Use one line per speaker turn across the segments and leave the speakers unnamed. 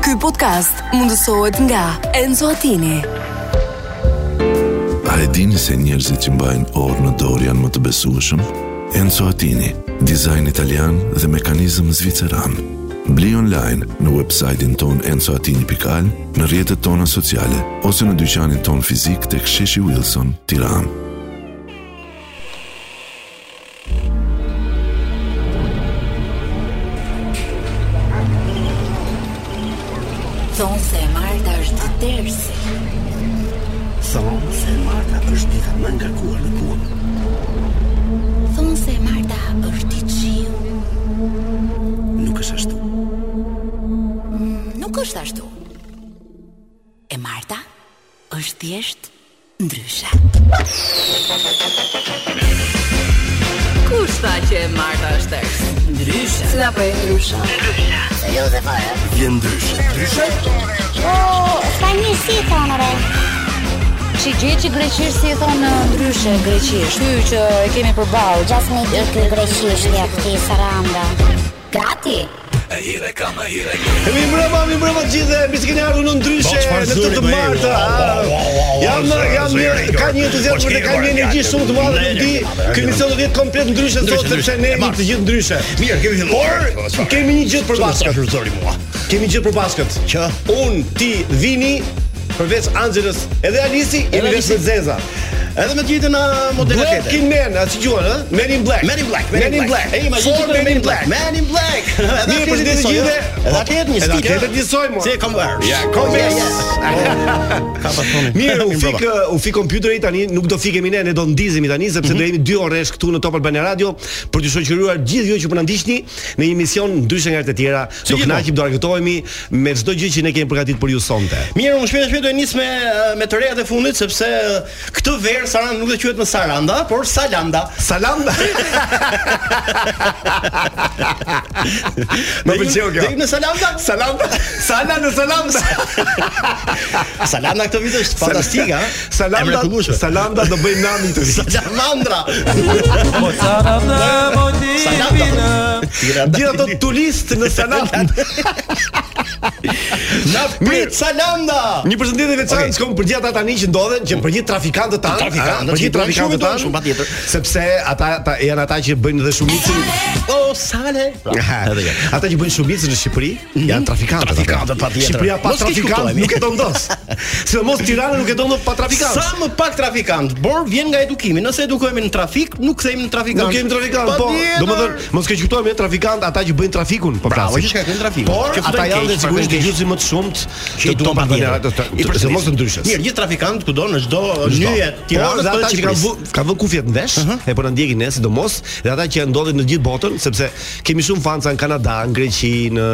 Ky podcast mundësohet nga Enzo Attini.
A e dini se njerëzit që mbajnë orë në dorë janë më të besueshëm? Enzo Attini, dizajn italian dhe mekanizëm zviceran. Bli online në website-in ton enzoatini.al, në rjetët tona sociale, ose në dyqanin ton fizik të ksheshi Wilson, tiran.
Thonë se Marta është tërsi
Thonë se Marta është dita më nga kuar në punë
Thonë se Marta është i qiu
Nuk është ashtu
Nuk është ashtu E Marta është thjesht ndryshe
Kush tha që e Marta është tërës? Ndryshe. Si na po e ndryshe?
Vjen ndryshe Ndryshe?
Spanjisht si e thonë re?
Që gjë që greqisht si e thonë ndryshe greqisht. Ky që e kemi përballë.
Gjas me di ky greqisht ja këti saranda. Gati.
Mi mbrëma, mi mbrëma të gjithë, mi s'keni ardhur në ndryshe
çfarë
në
zuri,
të të
me,
martë. ah.
wow, wow, wow, wow,
Jam
wow,
jam
zuri,
mirë, ka një entuziazëm
Po,
dhe ka një
shkeni,
energji
po,
shumë të madhe,
shkeni,
nuk di,
po, shkeni, po,
kemi sot 10 komplet ndryshe
Ndryshe,
sot sepse
ndryshe,
ne
e
jemi
martë.
të gjithë ndryshe.
Mirë, kemi filluar.
Por kemi një gjë për
Çfarë ka
baskët.
zori mua?
Kemi gjë për baskët.
Që?
un ti vini përveç Anxhelës edhe Alisi jemi
Edhe Alisi.
vetëm Zeza.
Edhe me të njëjtën uh, model rakete.
Black in Man, a si quhen, ë? Men in Black.
Men in Black,
Men in Black.
E imagjino
For Men in Black.
Man in Black.
Mirë, për ditën e
jo?
gjithë.
Edhe raketë një
jo? Edhe
stik.
raketet njësoj, jo? mua.
Si e kam bërë?
Ja, Converse.
Ka pasoni.
Mirë, u fik eh, u fik kompjuteri tani, nuk do fikemi ne, ne do ndizemi tani
Mhm.
sepse do jemi 2 orësh këtu në Top Albania Radio për të shoqëruar gjithë ju që po na ndiqni në një mision ndryshe nga herët e tjera. Do
gjithmonë.
kënaqim, do argëtohemi me çdo gjë që ne kemi përgatitur për ju sonte.
Mirë, unë shpejt e shpejt do e nis me eh, me të rejat e fundit sepse eh, këtë verë Saranda nuk do quhet më Saranda, por Salanda.
Salam. Më pëlqeu kjo.
Deri në Salanda?
Salam. Salam, salam.
Salanda këtë vit është fantastike, ha?
Salam.
E mrekullueshme.
Salam do bëjmë nami këtë vit.
Salamandra.
Salam.
Tirana.
Gjithë ato turist në Salam.
Na prit Salanda.
Një përshëndetje veçantë
Okej.
okay. shkon për gjithë ata tani që ndodhen, që për gjithë trafikantët tanë,
Trafikantët
a, për
që
gjithë
duan shumë,
trafikantët
duan
tanë,
shumë, patjetër.
sepse ata ata janë ata që bëjnë dhe shumicën.
O Sale.
Aha,
Edhe kjo.
Ata që bëjnë shumicën në Shqipëri janë trafikantët. ata.
Trafikantët, patjetër.
Shqipëria pa
Mos keq kuptohemi.
trafikant nuk e do ndos. Sidomos Tirana nuk e do ndos pa trafikant.
Sa më pak trafikant, por vjen nga edukimi. Nëse edukohemi në trafik, nuk kthehemi në trafikant.
Nuk kemi trafikant, po.
Patjetër.
Domethënë, mos keq kuptojmë, janë trafikant ata që bëjnë trafikun, po
Bravo,
flasim.
që shkaktojnë trafikun.
Por
Që
ata
ftojnë
janë
keq,
dhe
shkaktojnë
sigurisht
keq.
gjyqësi më të shumtë
Që
të duan pa
patjetër. I
të
përshëndes.
mos të ndryshës.
Mirë, gjithë trafikant kudo në çdo nyje
Por
Tiranës po
dhe ata
bëhet
që kanë
Shqipërisë.
vë, kanë vënë kufjet në vesh,
Uh-huh.
e po na ndjekin ne sidomos, dhe ata që janë ndodhur në gjithë botën, sepse kemi shumë fanca në Kanada, në Greqi, në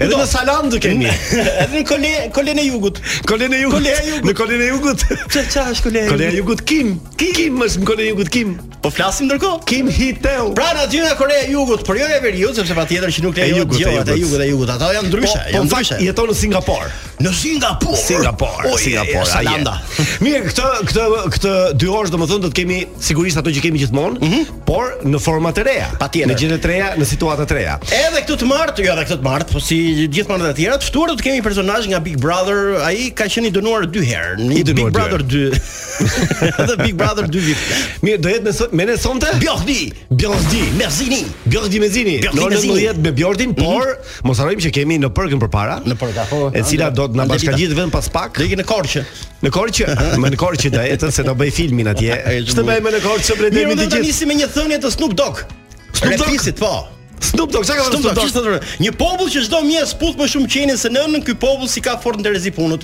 edhe
Do.
në Saland kemi.
Edhe Po. në kole kolen e jugut.
Kolen e Jugut.
Kolea e Jugut.
Në Kolen e Jugut.
Ç'a ç'a është kole e
Kolen e
jugut?
Jugut Kim. Kim, Kim është në Kolen e Jugut Kim.
Po flasim ndërkohë.
Kim Hiteu.
Pra në aty nga Korea e Jugut, por jo e veriut, sepse patjetër që nuk
E
lejohet
jugut, e
gjërat e
jugut.
jugut e jugut. Ato janë ndryshe,
po
janë
në fakt
ndryshe.
jeton në Singapur.
Në Singapur.
Singapur,
Oj,
Singapur,
e, Salanda.
aje. Mirë, këtë këtë këtë dy orë domethënë do të kemi sigurisht ato që kemi gjithmonë, por në forma të reja.
Mhm. Patjetër.
Në gjëra të reja, në situata të reja.
Edhe këtë të martë, jo edhe këtë të martë, po si gjithmonë edhe të tjera, të ftuar do të kemi një personazh nga Big Brother, ai ka qenë i dënuar dy herë, në
I dënuar
Big
dy
Brother 2. Edhe Big Brother 2 vit.
Mirë, do jetë me so- me ne sonte?
Bjordi,
Bjordi.
Merzini.
Bjordi Mezini,
Bjordi
në orën
Mezini. Mhm.
19 me Bjordin, por mos harrojmë që kemi në përkën përpara.
Në përka, po.
E cila do të na
Angelita.
bashkëngjit vetëm pas pak.
Do ikin në Korçë.
Në Korçë, më në Korçë do jetën se do bëj filmin atje.
E,
Ç'të bëjmë në Korçë për
Mirë,
demin
do
të
të
gjithë.
nisim me një thënie të Snoop Dogg.
Snoop Dogg?
Rapisit, po.
Snoop Dogg, çka ka thënë
Snoop Dogg, kishte thënë, një popull që çdo mjes puth më shumë qenin se nënën, ky popull si ka fort ndërzi punët.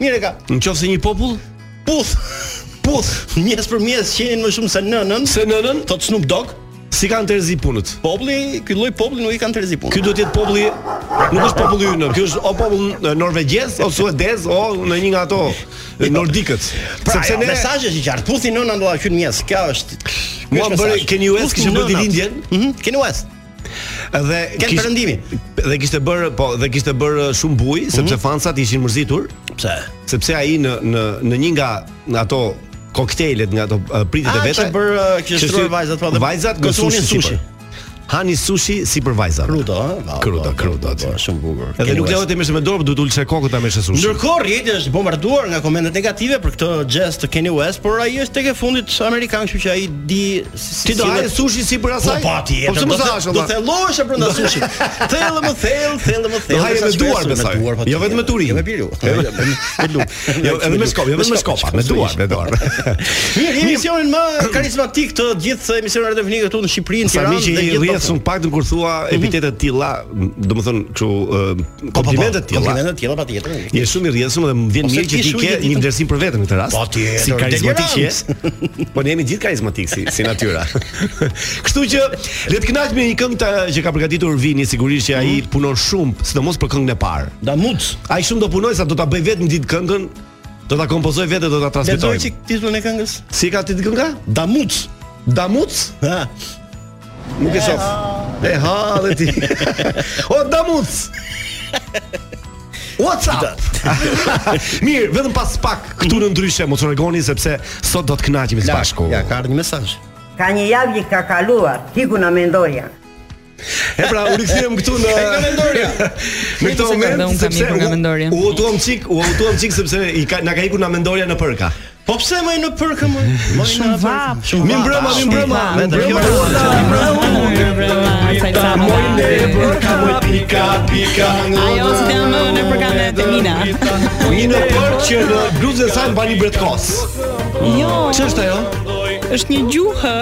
Mirë e ka.
Në qoftë se një popull
Puth. Puth. Mjes për mjes qenin më shumë se nënën.
se nënën
Thot Snoop Dogg,
si kanë terzi punët.
populli, ky lloj populli nuk i kanë terzi punët.
Ky duhet të jetë populli, nuk është populli ynë, ky është o popull norvegjez o suedez o në një nga ato nordikët.
Pra, sepse ne mesazhi është i qartë. Puthi nëna do ta hyn mjes. Kjo është. ky
Mua
është
bëri
mesazhi.
Kanye West
Puthi
kishte bërë
nënat.
ditëlindjen.
Mhm. Kanye West.
Dhe
Ken
kish-
Perëndimi.
Dhe kishte bër, po, dhe kishte bër uh, shumë buj, sepse fansat ishin mërzitur,
Pse?
sepse ai në në në një nga nga ato koktejlet nga ato uh, pritjet e
A,
veta.
që bër, uh, kishte shtruar vajzat, po, dhe
Vajzat
gocunin
gocunin sushi.
sushi.
hani sushi si për vajza.
Kruto, ha?
Kruto, kruto, atë.
Po, shumë bukur.
Edhe nuk lejohet të merresh me dorë, duhet ulse kokën ta merresh sushi.
Ndërkohë rrjeti është bombarduar nga komente negative për këtë gest të Kanye West, por ai është tek e fundit amerikan, kështu që ai di si
Ti do haje
sillet-
sushi si për
Po
asaj?
po ti.
Po pse mos hash
Do
valla?
thellohesh e brenda sushit. Thellë më thellë, thellë më thellë.
Do haje
sa
me
shpresoj,
duar, besoj.
po,
Jo
ti,
vetëm me turin.
Jo me biriu. Me lum.
Jo, edhe me skop, jo vetëm me skopa, me duar, me dorë.
Mirë, jemi emisionin më karizmatik të gjithë emisioneve radiofonike këtu në Shqipëri, në
Sa
Tiranë
mi që
dhe
i
gjithë Mhm.
rrjedh
botën.
shumë pak kur thua epitete të tilla, domethënë kështu ë,
Po, po, po,
komplimente të tilla.
Komplimente të tilla patjetër.
Je shumë i rrjedhshëm dhe më vjen
Ose
mirë që
ti
ti
shumë i
ke një
ditën.
vlerësim për veten në këtë rast.
Po, tjetër,
si karizmatik që je. Po ne jemi gjithë karizmatik si, si natyra. Kështu që le të kënaqemi me një këngë ta- që ka përgatitur Vini, sigurisht që
Mhm.
ai punon shumë, sidomos për këngën e parë.
Da muc.
Ai shumë do punoj sa do ta bëj vetëm ditë këngën, do ta kompozoj vetë dhe do ta
Lexoj
transmetoj.
çik titullin e këngës.
Si ka ti kënga?
Da muc.
Damuc?
Ha.
Nuk e shoh. E ha dhe ti. o Damuc. What's up? Mirë, vetëm pas pak këtu në ndryshe mos u rregoni sepse sot do të kënaqemi së bashku.
Ja, ka ardhur një mesazh.
Ka një javë që ka kaluar, hiku në mendoja.
E pra, u rikthyem këtu në Në këtë moment sepse u u hutuam çik, u hutuam çik sepse i ka na ka ikur na mendorja në përka.
Po pse më në përkë më? Më në përkë. Shumë
Mi mbrëma, mi mbrëma. Mi mbrëma. Moj pika, pika. Ajo si jam në përka me Temina. Mi në përkë që në bluzën e saj mbani bretkos. Jo. Ç'është ajo?
Është një gjuhë.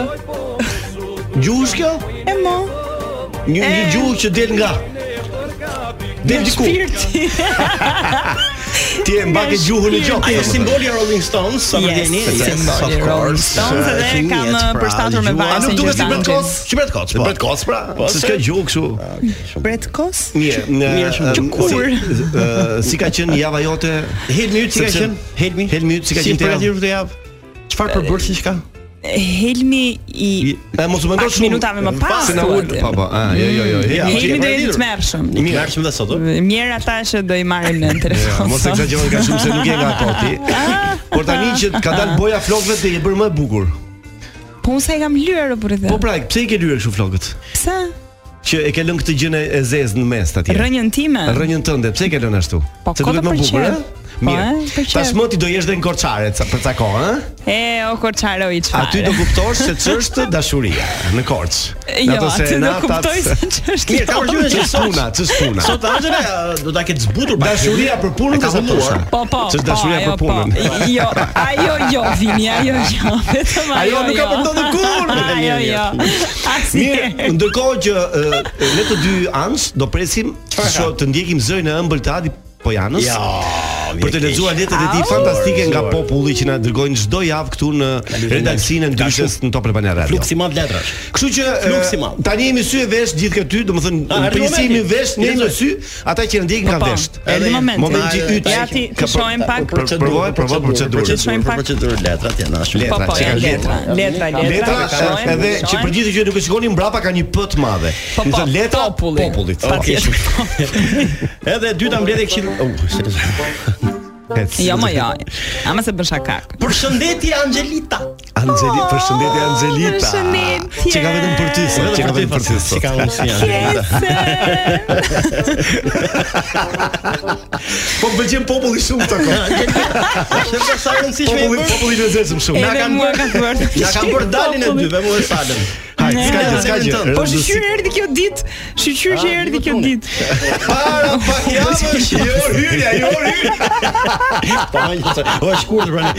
Gjuhësh kjo?
E mo.
Një një gjuhë që del nga Del diku.
Shpirti.
Ti e mbake
Nga
gjuhën e gjoku.
Ai është simboli i Rolling Stones, sa më
Yes,
dini.
simboli i Rolling Stones, edhe kam,
pra,
përshtatur me vajzën
A nuk duket si
Gjerdangjin.
Bretkos? Si Bretkos, po.
Bretkos pra. Se s'ka gjuhë kështu.
Bretkos?
Mirë, në
Mirë, shumë
qukur.
Si, ë, si ka qenë java jote?
Helmi yt si ka
Sepse-
qenë? Helmi.
Helmi yt si ka
Si
qenë te
përgatitur këtë javë? Çfarë përbërsi ka?
Helmi i
E mos u mendo
Pak
shumë.
minutave më pas,
Se na ul.
thuat.
Po po, a, jo jo jo. ja,
Helmi
okay.
Helmi do
e
jetë
lidhur.
të mërshëm.
Mirë, arsim dhe sot. ë?
Mjerë ata që do i marrin në
Ja,
telefon.
Mos
sot.
eksagjeron ka shumë se nuk je nga ato ti. Por tani që ka
Ah.
dalë boja flokëve dhe je bërë më e bukur.
Po unë sa i kam lyer apo rreth.
Po pra, pse i ke lyer kështu flokët?
pse?
Që e ke lënë këtë gjën e zezë në mes atje.
Rënjën time.
Rënjën tënde, pse e ke lënë ashtu?
Po,
Se
kodo
duket më
për
bukur,
qef.
ë?
Po,
Mirë.
e, për qef.
Tashmë ti do jesh dhe në korçare ca- për ca kohë, ë?
E o korçaro i çfarë.
Aty do kuptosh se ç'është dashuria në Korç.
Jo, aty do kuptoj se jo. ç'është.
Mirë, ka përgjithë që
Sot-
puna, ç'është puna.
Sot Angela ë, do ta ketë zbutur pak.
dashuria për punën
E ka
ka
humbuar.
humbuar.
Po po.
Ç'është
po,
dashuria
ajo,
për punën.
Po. Jo, ajo jo vini, ajo jo. Vetëm ajo.
Ajo nuk ka
jo.
përndodhur kurrë.
Ajo jo.
Mirë,
Asnjë.
ndërkohë që ë, ne të dy anës do presim që të ndjekim zërin e ëmbël të Adi Pojanës.
Ja,
Për të
vje
lexuar
keq.
letrat e tij
Au.
fantastike nga populli që na dërgojnë çdo javë këtu në redaksinën e
Ka
ndryshës në Top Albania Radio.
Fluksi madh letrash.
Kështu që
Fluksi
e,
madh.
tani jemi sy e vesh gjithë këty,
A,
domethënë
erdhi
prisimi
momenti.
vesh ne jemi
Lexoj.
në sy, ata që ndjekin nga
Po, po.
vesh.
Erdhi
Edhe
momenti.
Momenti
Ai,
yt.
ai,
Ja ti të shohim pak.
Për- provoj, provoj procedurë.
Të shohim pak.
Procedurë letrat janë ashtu.
Po po,
që ka
janë letra,
zgjuar.
letra, letra.
Letra
shohim,
edhe që
shohim.
për gjithë që nuk e shikoni mbrapa ka një p të madhe.
Po,
Do
po,
të thënë letra
populli.
popullit.
Patjetër.
Oh, Edhe e dyta mbledhje këshill. Oh, se-
Jo, më jo. Ama se bën shakak.
Përshëndetje Angelita.
Angelita, përshëndetje
Oh,
Angelita.
përshëndetje.
Që ka vetëm për ty sot, që ka vetëm për ty
Si
sot.
ka unë si Angelita.
Kese.
Po më pëlqen populli shumë të kohë.
Është sa e rëndësishme i
Populli
bërë.
populli i lezetshëm shumë.
Edhe
kanë
mua
bërë-
ka thuar.
Ja kam bërë dalin e dyve, mua e salën.
Hajt, s'ka gjë, s'ka gjë.
Po shqyr erdhi kjo ditë, shqyr që erdhi kjo ditë.
Para pak javësh.
Jo hyrja, jo hyrja.
Po një se. O është kurrë pra.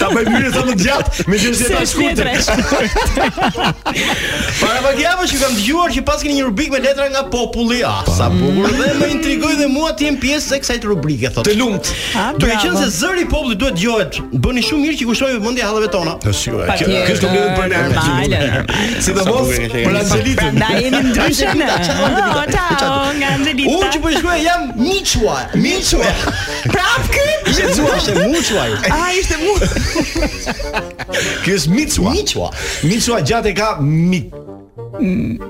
Ta bëj hyrje sa më gjatë, me gjë se
Se
ta
është
shkurtër.
letra e shkurtër.
Para pak javësh ju kam dëgjuar që pas keni një rubrik me letra nga populli. Ah, sa bukur dhe më intrigoi dhe mua të jem pjesë e kësaj rubrike thotë.
Të lumt.
Ah,
Duke
bravo.
qenë se zëri i popullit duhet dëgohet, bëni shumë mirë që kushtojmë vëmendje halleve tona.
Sigurisht. Kjo
Patjetër,
kjo është komplet
normale,
për ne.
normale.
Sidomos për Angelitën.
Prandaj jemi ndryshe në. Oh, ciao, nga Angelita.
Unë që po i shkruaj jam Miçua. Miçua.
prap ky.
Miçua është Miçua.
Ai ishte mu.
Ky është Micua.
Miçua.
Micua gjatë e ka mi.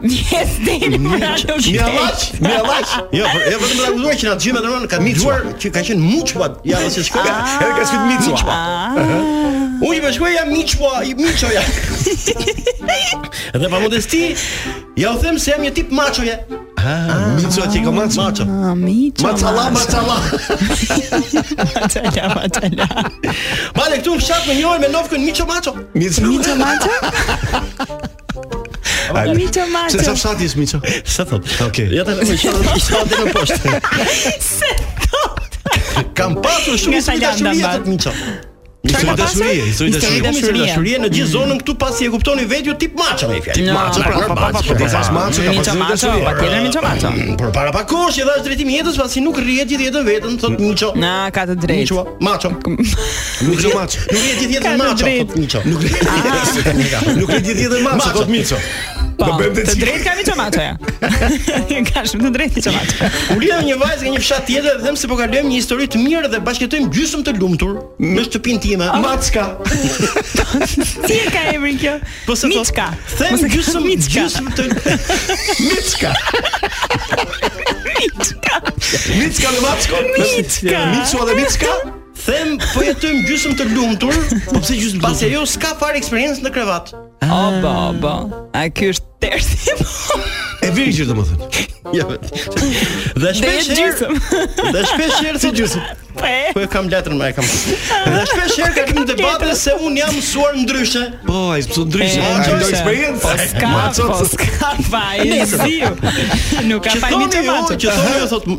Yes, deni për ato.
Mjallaç, mjallaç.
Jo, por- jo vetëm ta kuptoj që na dëgjojmë
Ah.
atë rënë, ka dëgjuar që ka qenë Miçua. Ja, si shkoj.
Edhe ka shkruajtur Micua.
Unë i bashkoj jam miqua, i miqoja. Dhe pa jo, modesti, ja u them se jam një tip machoje.
Ah, miço ti komanç.
Macho.
Ah, miqo.
Macalla, macalla.
Macalla, macalla.
Bale këtu në fshat më njëherë me Novkën miqo macho.
Miço.
Miqo macho? Miqo
Se
macho.
sa fshati është miço?
Sa thot?
Okej.
Ja ta lëmë shtatë, shtatë më poshtë.
Se
Kam pasur shumë histori
Nga Tajlanda,
dashurie
mbar.
atë miqo.
Çfarë ka pasur?
dashurie, histori
Histori
Shumë histori
dashurie.
dashurie në gjithë zonën këtu pasi e kuptoni vetë ju tip macho me fjalë.
No.
Macho, pra, pa pa pa.
Po
pa,
thash
pa.
maço ka
Miqo
pasur
macho,
dashuri.
patjetër miqo macho.
Por para Mm, po, pa kohësh i dhash drejtim jetës pasi nuk rrihet gjithë jetën vetëm thot miqo.
Na, ka të drejtë.
Miqo, macho.
Miço maço.
Nuk rrihet gjithë jetën
Ka të
macho
drejtë.
thot miqo. Nuk rrihet.
Ah.
Nuk e di tjetër maço,
Maço.
thot miço.
Po,
Do bëjmë
të
të qi-
drejtë ka miqo macho. ja. Ka shumë të drejtë miqo macho.
U lidhem një vajzë nga një fshat tjetër dhe them se po kalojmë një histori të mirë dhe bashkëtojmë gjysmë të lumtur me shtëpinë time. Maçka.
Si e ka emrin kjo?
Po se thot,
Miçka.
Them
Mos e ka
gjysmë
Miçka.
gjysmë të Miçka.
Miçka.
Miçka me maçko.
Miçka.
Miçka dhe miçka. Them po jetojmë gjysmë të lumtur, po pse gjysmë? Pasi ajo s'ka fare eksperiencë në krevat.
O, bo, bo. A ky është tersi.
E virgjë domethënë.
Jo. Dhe
Dhe e
shpesh herë,
gjysëm.
dhe shpesh herë si gjysmë.
Po e.
Po e kam letrën, më e kam. Dhe shpesh herë ka kemi debate se un jam mësuar ndryshe.
Po, ai s'u ndryshë.
E,
Ai do
ndryshe.
eksperiencë.
Po s'ka,
Maço,
po s'ka faj, e ziu. Nuk ka
Që
faj
thonë
miqo
jo,
macho.
që thonë jo thot,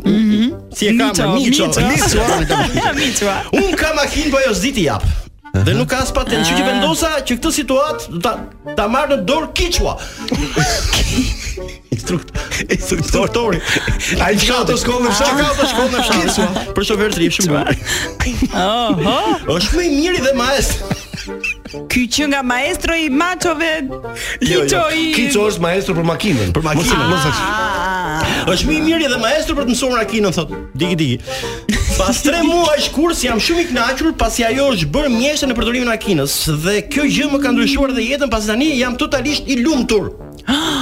si e kam, miço, miço.
Miço.
Un kam makinë po ajo s'di t'i jap. Dhe nuk ka as patent, që që vendosa që këtë situatë do ta ta marr në dorë Kiçua. Instrukt, instruktori. Ai që ka ato shkollë në fshat, ka ato shkollë në fshat. Për shofer trip shumë.
Oho.
Është më i miri dhe maestro.
Ky që nga maestro i machove.
Jo,
Kiço i
Kiço është maestro për makinën. Për makinën, mos
Ah, ah, ah.
Është më i miri dhe maestro për të mësuar akinën thot. Digi digi. Pas 3 muajsh kurs jam shumë i kënaqur pasi ajo është bërë mjeshtë në përdorimin e akinës dhe kjo gjë më ka ndryshuar dhe jetën pasi tani jam totalisht i lumtur.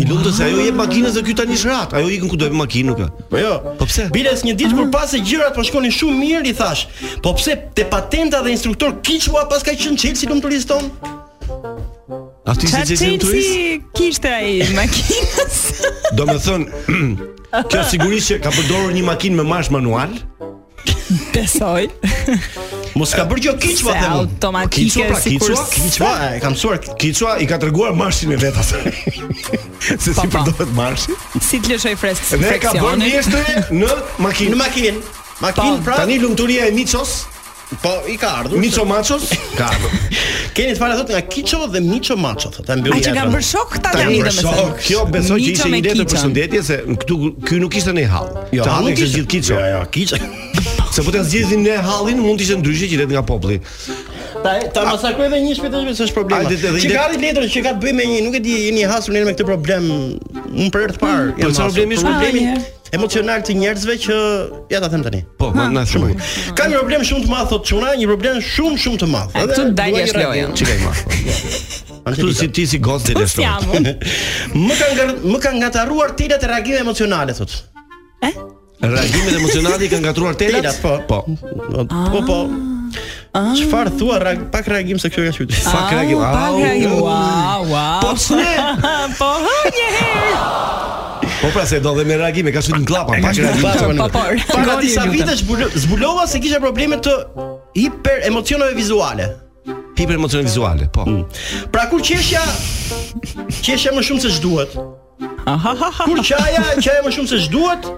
I lumtë se ajo jep makinës dhe ky tani shrat. Ajo ikën ku do me makinë nuk ka.
Po jo.
Po pse?
Biles një ditë përpara se gjërat po shkonin shumë mirë i thash, po pse te patenta dhe instruktor Kiçua pas ka qenë Chelsea lumturisë tonë?
A ti se
Qa
çesi në turist?
qenësi kishte ai makinës?
Do me thënë, kjo sigurisht që ka përdorur një makinë me marsh manual.
Besoj.
Mos ka bërë gjë Kiçua
Se
them. unë.
automatike
Kiçua, pra,
si kur
kiçua,
s-
Kiçua, e kam mësuar
Kiçua i ka treguar marshin e vet asaj. Se si
Pa, pa.
përdoret marshi.
si të lëshoj freskë
Dhe e ka bërë mjeshtre në
në
makinë.
makinë. Makinë
Po,
pra.
Tani lumturia e Miços,
po i ka ardhur.
Miço Machos, ka ardhur.
Keni të fare thot nga Kiço dhe Miço Macho thot. Ta mbylli.
Ai që kanë
jetën.
bërë shok këta
Tani
tani
për shok,
domethënë.
kjo besoj që
Miqo
ishte
me
një letër
kiçën.
përshëndetje se këtu ky nuk ishte në hall.
Jo,
Të
nuk
halli
ishte.
ishte gjithë Kiço.
Jo, jo, Kiço.
Se po të zgjidhin në hallin mund të ishte ndryshe që let nga populli.
Ta ta masakroj edhe një shpejt është s'është problem.
Hajde, edhe i
Që
le-
ka ardhur letër që ka të bëjë me një, nuk e di, jeni hasur njerë me këtë problem. Unë për herë të parë. jam
po çfarë
hasur.
problemi është?
problemi
Ah,
emocional të njerëzve që ja ta them tani.
Po, ma na shumë.
Ka një problem shumë të madh thot Çuna, një problem shumë shumë të madh.
A,
Edhe
këtu
dua
dalja
një
është
reagim.
loja.
Çikaj më. Këtu si ti si gocë
Po
dhe
s'jam
shkon.
unë.
Më kanë ngar- më kanë ngatarruar telat e reagimeve emocionale thot.
Reagimet emocionale i kanë ngatruar telat.
Telat po.
Po.
Po po. Çfarë thua reag- pak reagim se kjo ka qytet.
Fak reagim.
Au, pak
Au,
reagim.
au.
Wow, wow.
Po s'ne.
Po hë një herë.
Po pra se do dhe me reagime ka shtyt në klapa, pak reagim.
Pas-
Po po.
Para
reagoni,
disa
lutem.
vite zbulo- zbulova se kisha probleme të hiper emocioneve vizuale.
Hiper emocione vizuale, po.
Mm.
Pra kur qeshja qeshja më shumë se ç'duhet.
Aha, ha, ha.
Kur qaja, qaja më shumë se ç'duhet.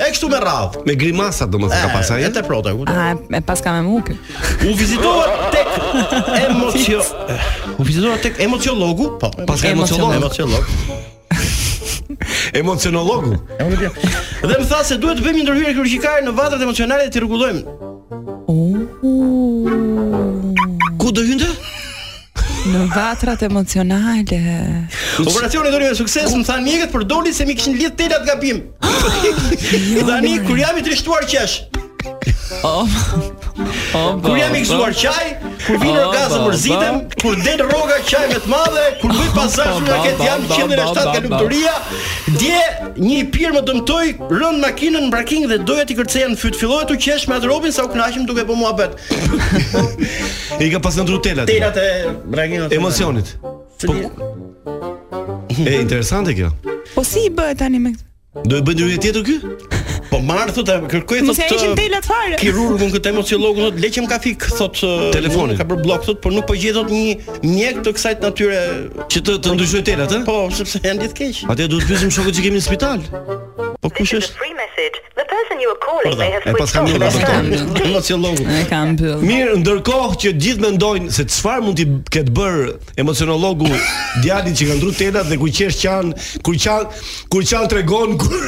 E kështu me radhë.
Me grimasa domethënë
Eh,
ka pasaj.
E te prota. u-
A, e pas ka me mu kë
U vizitova tek emocio U vizitova tek emociologu, po.
Pas ka emociolog.
Emociolog.
Emocionologu.
Dhe më tha se duhet të bëjmë një ndërhyrje kirurgjikare në vatrat emocionale dhe t'i rregullojmë.
Ku do hynte?
Në vatrat emocionale
Operacioni doli me sukses, më thanë mjekët, por doli se mi kishin lidh telat gabim. Tani kur jam i trishtuar qesh,
O, po,
kur jam i gëzuar qaj, Kur vjen
O,
orgazm
ba,
mërzitem,
ba.
kur del rroga qajme të madhe, kur bëj
Ba,
pasazh
ba,
raket
ba,
jam
ba,
107
ba, ba.
ka lumturia, dje një pir më dëmtoi, rënd makinën në braking dhe doja ti kërceja në fyt. Filloi të qesh me atë robin sa u kënaqëm duke bë muhabet.
E ka pas ndru telat.
Telat e brakingut.
Emocionit. Po. E interesante kjo.
Po si i bëhet tani me këtë?
Do e bëj një tjetër ky?
Po marr thotë kërkoj
Mos ja ishin telat fare.
Kirurgun këtë emociologun thotë le që më ka fik thotë "ë,
Telefonin."
unë ka bër blok thotë por nuk po gjej thotë një mjek të kësaj natyre
që të të ndryshoj telat, ë?
Po, sepse janë ditë keq.
Atëherë duhet të pyesim shokët që kemi në spital.
Po kush është? Pra,
Por da,
po
e pas kam një doktor. Emociologu.
E kam mbyll.
Mirë, ndërkohë që gjithë mendojnë se çfarë mund t'i ketë bër emocionologu djalit që ka ndru telat dhe kur qesh qan, kur qan, kur qan tregon kur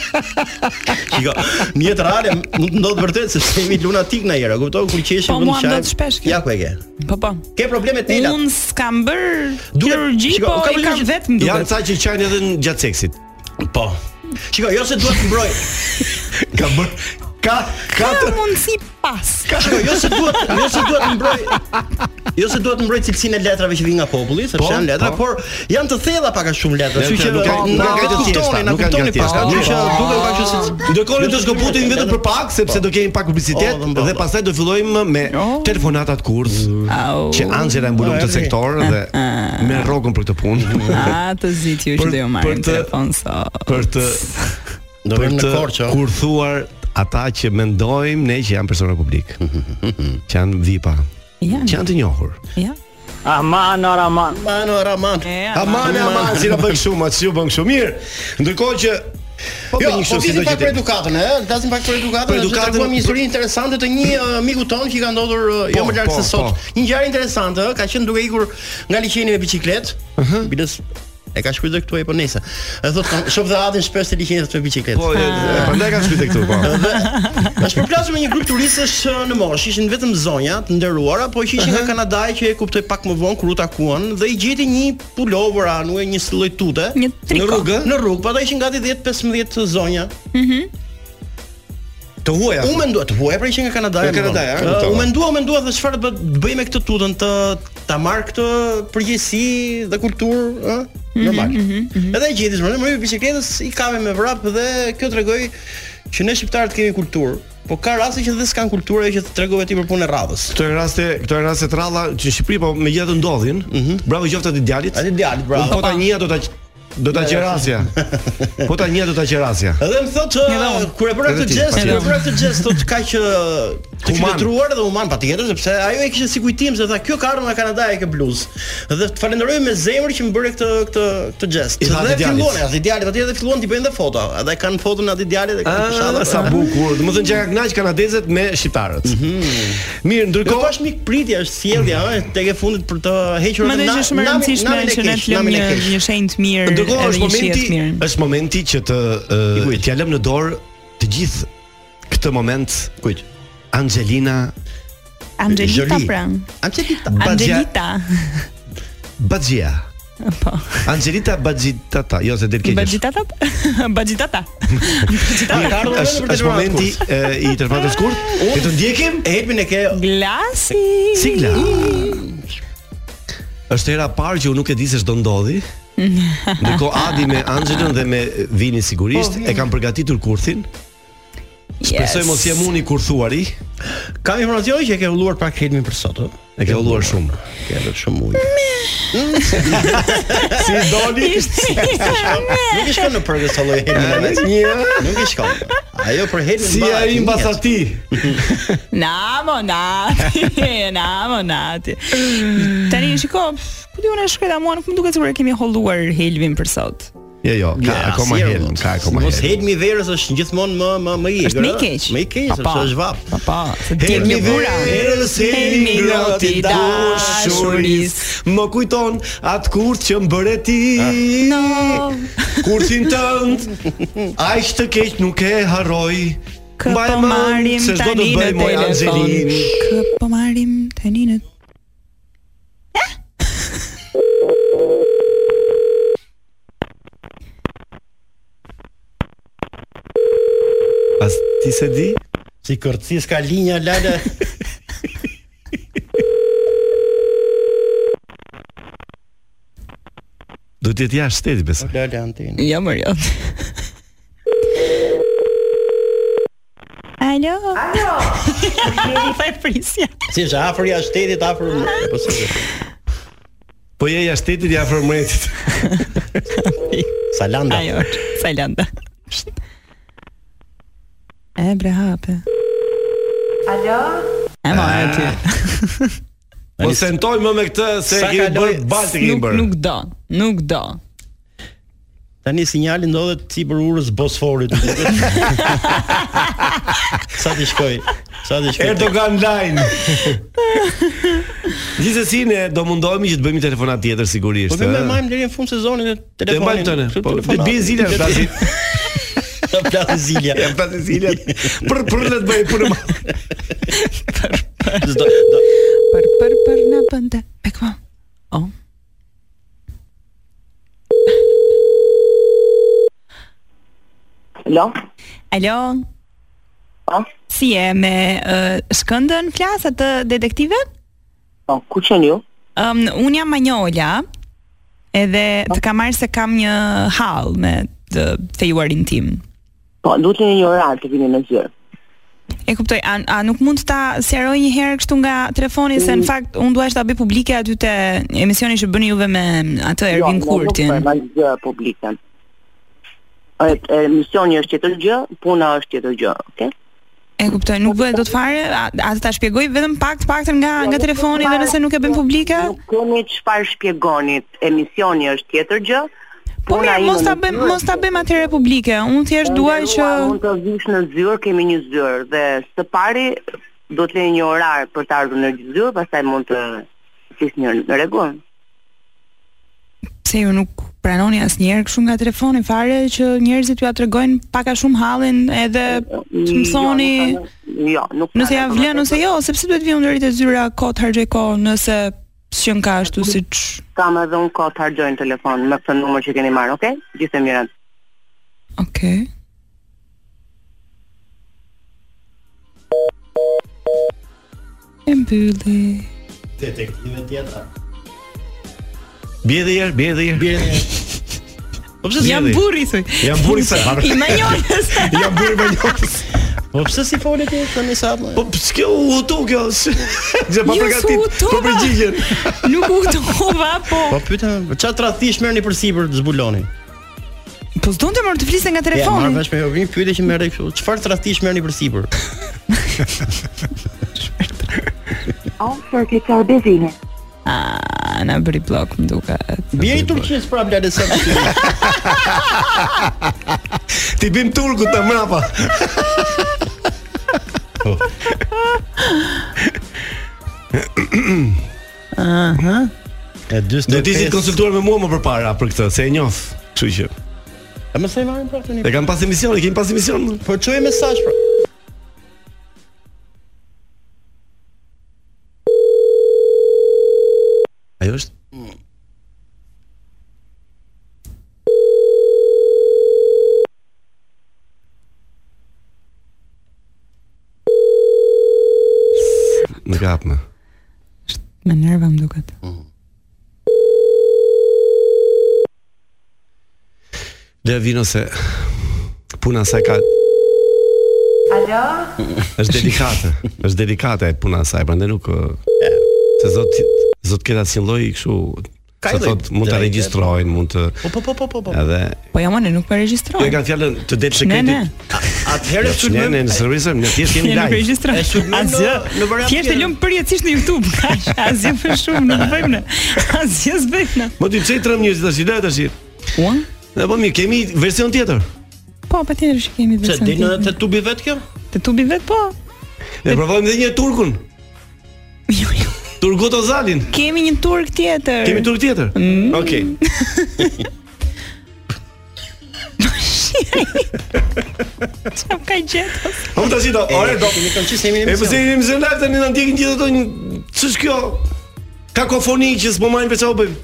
Shiko, në jetë reale mund të ndodhë vërtet sepse jemi lunatik na era, kupton kur qeshim
Po,
vend
mua ndodh shpesh kjo.
Ja ku e ke.
Po po.
Ke probleme telat.
Unë s'kam bër
Duket-
kirurgji,
shiko,
po
ka
i
probleme
kam
që-
vetëm
janë
duket.
ca që qajnë edhe në gjatë seksit.
Po. Shiko, jo se duhet të mbroj.
Ka bër ka
Ka
ka të-
mundësi pas.
Ka shiko, jo se duhet, jo se duhet të mbroj. Jo se duhet të mbroj cilësinë e letrave që vijnë nga populli, sepse
Po,
janë letra,
po.
por janë të thella pak a shumë letra, kështu që
nuk ka- nuk
na
ka të thjeshta,
kuptoni, na
nuk ka të
kuptoni
thjeshta.
pak, kështu që duket pak që si
Ndërkohë do shkëputim vetëm për pak sepse do kemi pak publicitet
Oh, dhe mbrapa.
dhe pastaj do fillojmë me telefonatat kurth
Au.
që Angela e mbulon këtë sektor dhe me rrogën për këtë punë.
A të zit ju që
Për-
do ju
për
marrim
të-
telefon sa.
Për të
Do
për
vjen
të
në korçë.
kurthuar ata që mendojmë ne që janë persona publik, që janë VIP-a, që
Ja.
janë të njohur.
Ja.
Aman, araman.
Mano Raman.
Aman, aman, si na bën shumë, atë si u bën kështu mirë. Ndërkohë që
Po
Jo,
jo,
kështu
po
si
flisim
do
pak për
gjeti.
edukatën, ë, flasim pak për edukatën,
Për
do të
edukatën-
tregojmë një histori interesante të një uh, miku ton që i ka ndodhur uh, jo
Po,
më larg
po,
se sot.
po.
Një ngjarje interesante, ë, ka qenë duke ikur nga liçeni me biçikletë. Biles e ka shkruar dhe këtu e po nesër. E thotë, kam- shoh dhe Adin shpesh te liçeni me biçikletë.
Po, e- e, prandaj ka shkruajtë këtu, po.
Është përplasur po me një grup turistësh uh, në moshë, ishin vetëm zonja të nderuara, po që ishin nga Kanadaja që e kuptoj pak më vonë kur u takuan dhe i gjeti një pulover anuaj një si lloj tute
Një triko.
Në rrugë?
në rrugë, po ata ishin gati 10-15 zonja.
Të huaja.
U mendua të huaj pra ishin nga Kanadaja.
Nga Kanadaja,
më
a,
vonë.
kuptova.
Ë, U mendua, u mendua se çfarë të bë- bëj me këtë tutën të ta marr këtë përgjegjësi dhe kulturë, ë? Normal. Edhe e gjeti më mëri biçikletës i kave me vrap dhe kjo tregoi që ne shqiptarët kemi kulturë. Po ka raste që dhe s'kan kulturë ajo që të tregove ti për punën e radhës.
Këto janë raste, këto janë raste të rralla që në Shqipëri po megjithatë ndodhin. Bravo qoftë Mhm. atë djalit.
Atë djalit,
Unë Po
bravo.
ta njëja do ta do ta qerasja. Po ta njëja do ta qerasja.
Edhe më thotë
unë.
kur e bëra
Edhe
këtë
ti,
gest, kur e
patjetër.
bëra këtë gest thotë ka që të
Human.
qytetëruar dhe human patjetër sepse ajo e kishte si kujtim se tha kjo ka ardhur nga Kanadaja kjo bluz. Dhe të falenderoj me zemër që më bëre këtë këtë këtë gest.
I tha
Dhe
atij djalit.
filluan atë djalit atje dhe filluan ti bëjnë dhe foto. Edhe kanë foton atë djalit dhe kanë
Ah, sa bukur. Do të thënë që ka kënaq kanadezët me shqiptarët.
Mhm.
Mirë,
Kjo
ndërkohë
bash mik pritja është sjellja ë tek e fundit për të hequr
Më dhe që është më rëndësishme që ne të lëmë një një shenjë të mirë
ndërkohë
edhe
është
një shije
momenti
të mirë.
është momenti që të
I
uh,
kujt?
t'ia lëm në dorë të gjithë këtë moment
kujt.
Angelina
Angelita
Jolie.
pra.
Angelita.
Angelita.
Bagjia.
Po.
Angelita Bagjitata, jo se del keq. është.
Bagjitata? Bagjitata.
Mirë,
Ka ardhur
është
momentin për
është
telefonat
momenti e, i telefonatës kurt. Ne të ndjekim
E helpin e ke
Glasi.
Sigla. Është hera e parë që unë nuk e di se ç'do ndodhi. Ndërkohë Adi me Anxhelën dhe me Vini sigurisht
Po,
e kanë përgatitur kurthin. Besoj mos jam unë i kurthuari.
Kam informacion që e ke ulluar pak helmin për sot, ë?
E ke ulluar shumë.
Ke edhe shumë ujë.
Si doli?
Nuk i shkon në përgjës të lloj helmi.
Një.
Nuk i shkon. Ajo për helmin
Si ai mbas atij?
Na mo nati, na mo nati. Tani shiko, ku di unë e shkruaj ta mua, nuk më duket sikur e kemi holluar Helvin për sot.
Jo, jo, ka akoma helm, ka akoma
Mos
helm.
helmi i verës është gjithmonë më më më i
Është më i
ë?
keq.
Më i keq,
Pa, pa.
është është vap.
Pa pa, se del
Helmi
një bura.
verës, helmi ngrot i dashuris Më kujton atë kurt që më bëre ti Kurthin tënd Aq të keq nuk e harroj
Kë
Mbaj
po
mend
marrim
se çdo do
tani
bëj
në
moj
telefon.
Angelin.
Kë po marrim tani në
As ti se di?
Si kërcis ka linja lale.
të jetë jashtë shtetit besoj.
Ola Lantin.
Jo, më jo. Alo. Alo. Fa e prisja.
Si është afër jashtë shtetit, afër apo si? është?
Po je jashtë shtetit, je afër mretit.
Salanda.
Ajo, është, Sajlanda. E bre hape.
Alo?
E ma e ti.
Po sentoj më me këtë se
Sa
kemi
kaloj-
bërë balti kemi
Nuk
bërë.
nuk do, nuk do.
Tani sinjali ndodhet sipër urës Bosforit. Sa ti shkoj? Sa ti shkoj?
Erdogan line. Gjithsesi ne do mundohemi që të bëjmë një telefonat tjetër sigurisht.
Po më më
ë.
majm deri në fund sezonin e
Të mbajmë
telefonin.
tëne.
Kështu
Po
telefonat.
bi zile flasim.
Ta flasë zilja.
Ja flasim zile. Për për le të bëj punë. po.
S'do do
Për për për në bënde. Me këma. O.
Alo?
Alo.
Po?
Si e me uh, shkëndën flasë atë detektive?
Po, ku qenë ju?
Um, unë jam Manjola, edhe të kam marrë se kam një hall me të fejuarin tim.
Po, duhet një një orar të vini në zyrë.
E kuptoj, a, a nuk mund ta sqaroj një herë kështu nga telefoni se në fakt unë dua ta bëj publike aty te emisioni që bëni juve me atë Ervin Kurtin.
Jo, ne nuk përma gjë publikën. E, e, misioni është tjetër gjë, puna është tjetër gjë, okay?
E kuptoj, nuk bëhet dot fare, a- atë ta shpjegoj vetëm pak Jo, të paktën nga nga telefoni dhe nëse nuk e bën publike.
Nuk kemi çfarë shpjegonit, emisioni është tjetër gjë,
Po mirë, mos ta bëjmë
bëjmë
mos ta bëjmë atëre publike. Unë thjesht dua që
mund të vish në zyrë, kemi një zyrë dhe së pari do të lejë një orar për të ardhur në zyrë, pastaj mund të fis një në rregull.
pse ju nuk pranoni asnjëherë kështu nga telefoni fare që njerëzit ju atregojnë pak a shumë hallin edhe Jo, të më thoni
Jo, Mm, nuk
Nëse
Pra,
ja vlen ose jo, sepse duhet vi ndërit e zyra kot harxoj kohë nëse s'qen ka ashtu siç
kam edhe unë kohë të harxoj në telefon me këtë numër që keni marrë, okay? Gjithë e mirat.
Okej. E mbylli.
detektive tjetër.
Bie edhe herë, bie edhe herë. Bie edhe herë. Po pse
Jam burri thuj.
Jam burri sa.
I manjonës.
Jam burri manjonës.
Po pse si folet ti tani sa?
Po pse kjo u hutu kjo? Gjë pa
Jo,
përgatit.
s'u hutova.
Po përgjigjen.
Nuk u tova, po.
Po pyetëm, për çfarë tradhish merrni për sipër zbulonin?
Po s'donte më të fliste nga
Ja, marr
telefoni.
vesh me Jovin, pyetje që merr kështu. Çfarë tradhish merrni për sipër?
Ofër ke çfarë bezine? Ah, na bëri blok më duket.
Bie i Turqisë pra bla sa.
Ti bim turku të mrapa.
Aha. E
Do të ishit konsultuar me mua më përpara për këtë, se e njoh. Kështu që.
A më sa i marrin pra tani?
E kam pas emision, e kemi pas emision.
Po çoj mesazh pra.
Ajo është? Më kap më.
Me nerva më duket.
Le vino se puna sa ka
Alo?
është delikate. është delikate e puna e saj, prandaj nuk ë, se zot zot keta si lloj kështu
Ka
se
lloj
thot mund ta
drejte.
regjistrojnë, mund të
Po po po po po. po.
edhe
Po jam unë nuk më
Po e
regjistroj.
kanë fjalën të det
Ne
sekretit.
ne.
Atëherë
Ne
sulmojmë.
ne në servisëm, ne thjesht
Ne
jemi
nuk
live.
regjistroj.
E sulmojmë
Asgjë.
në- në variant
Thjesht e
tjetër.
lëm përjetësisht në YouTube. Kaq, asgjë më shumë nuk bëjmë ne. Asgjë s'bëjmë ne.
Më ti çej trem njerëz tash, le tash.
Uan?
Ne po mirë, kemi version tjetër.
Po, patjetër që kemi
Pse
vetë.
del në te tubi vet kjo?
Te tubi vet po.
Ne provojmë edhe një turkun.
Jo, jo.
Turgut Ozalin.
Kemi një turk tjetër.
Kemi turk tjetër.
Mm.
Okej.
Çfarë ka gjetur?
Po tash do, ore do.
Ne kam qenë jemi në
E po se
emision.
jemi në live tani na ndjekin gjithë ato një ç'është kjo? Kakofoni që s'po marrin për çfarë bëjmë.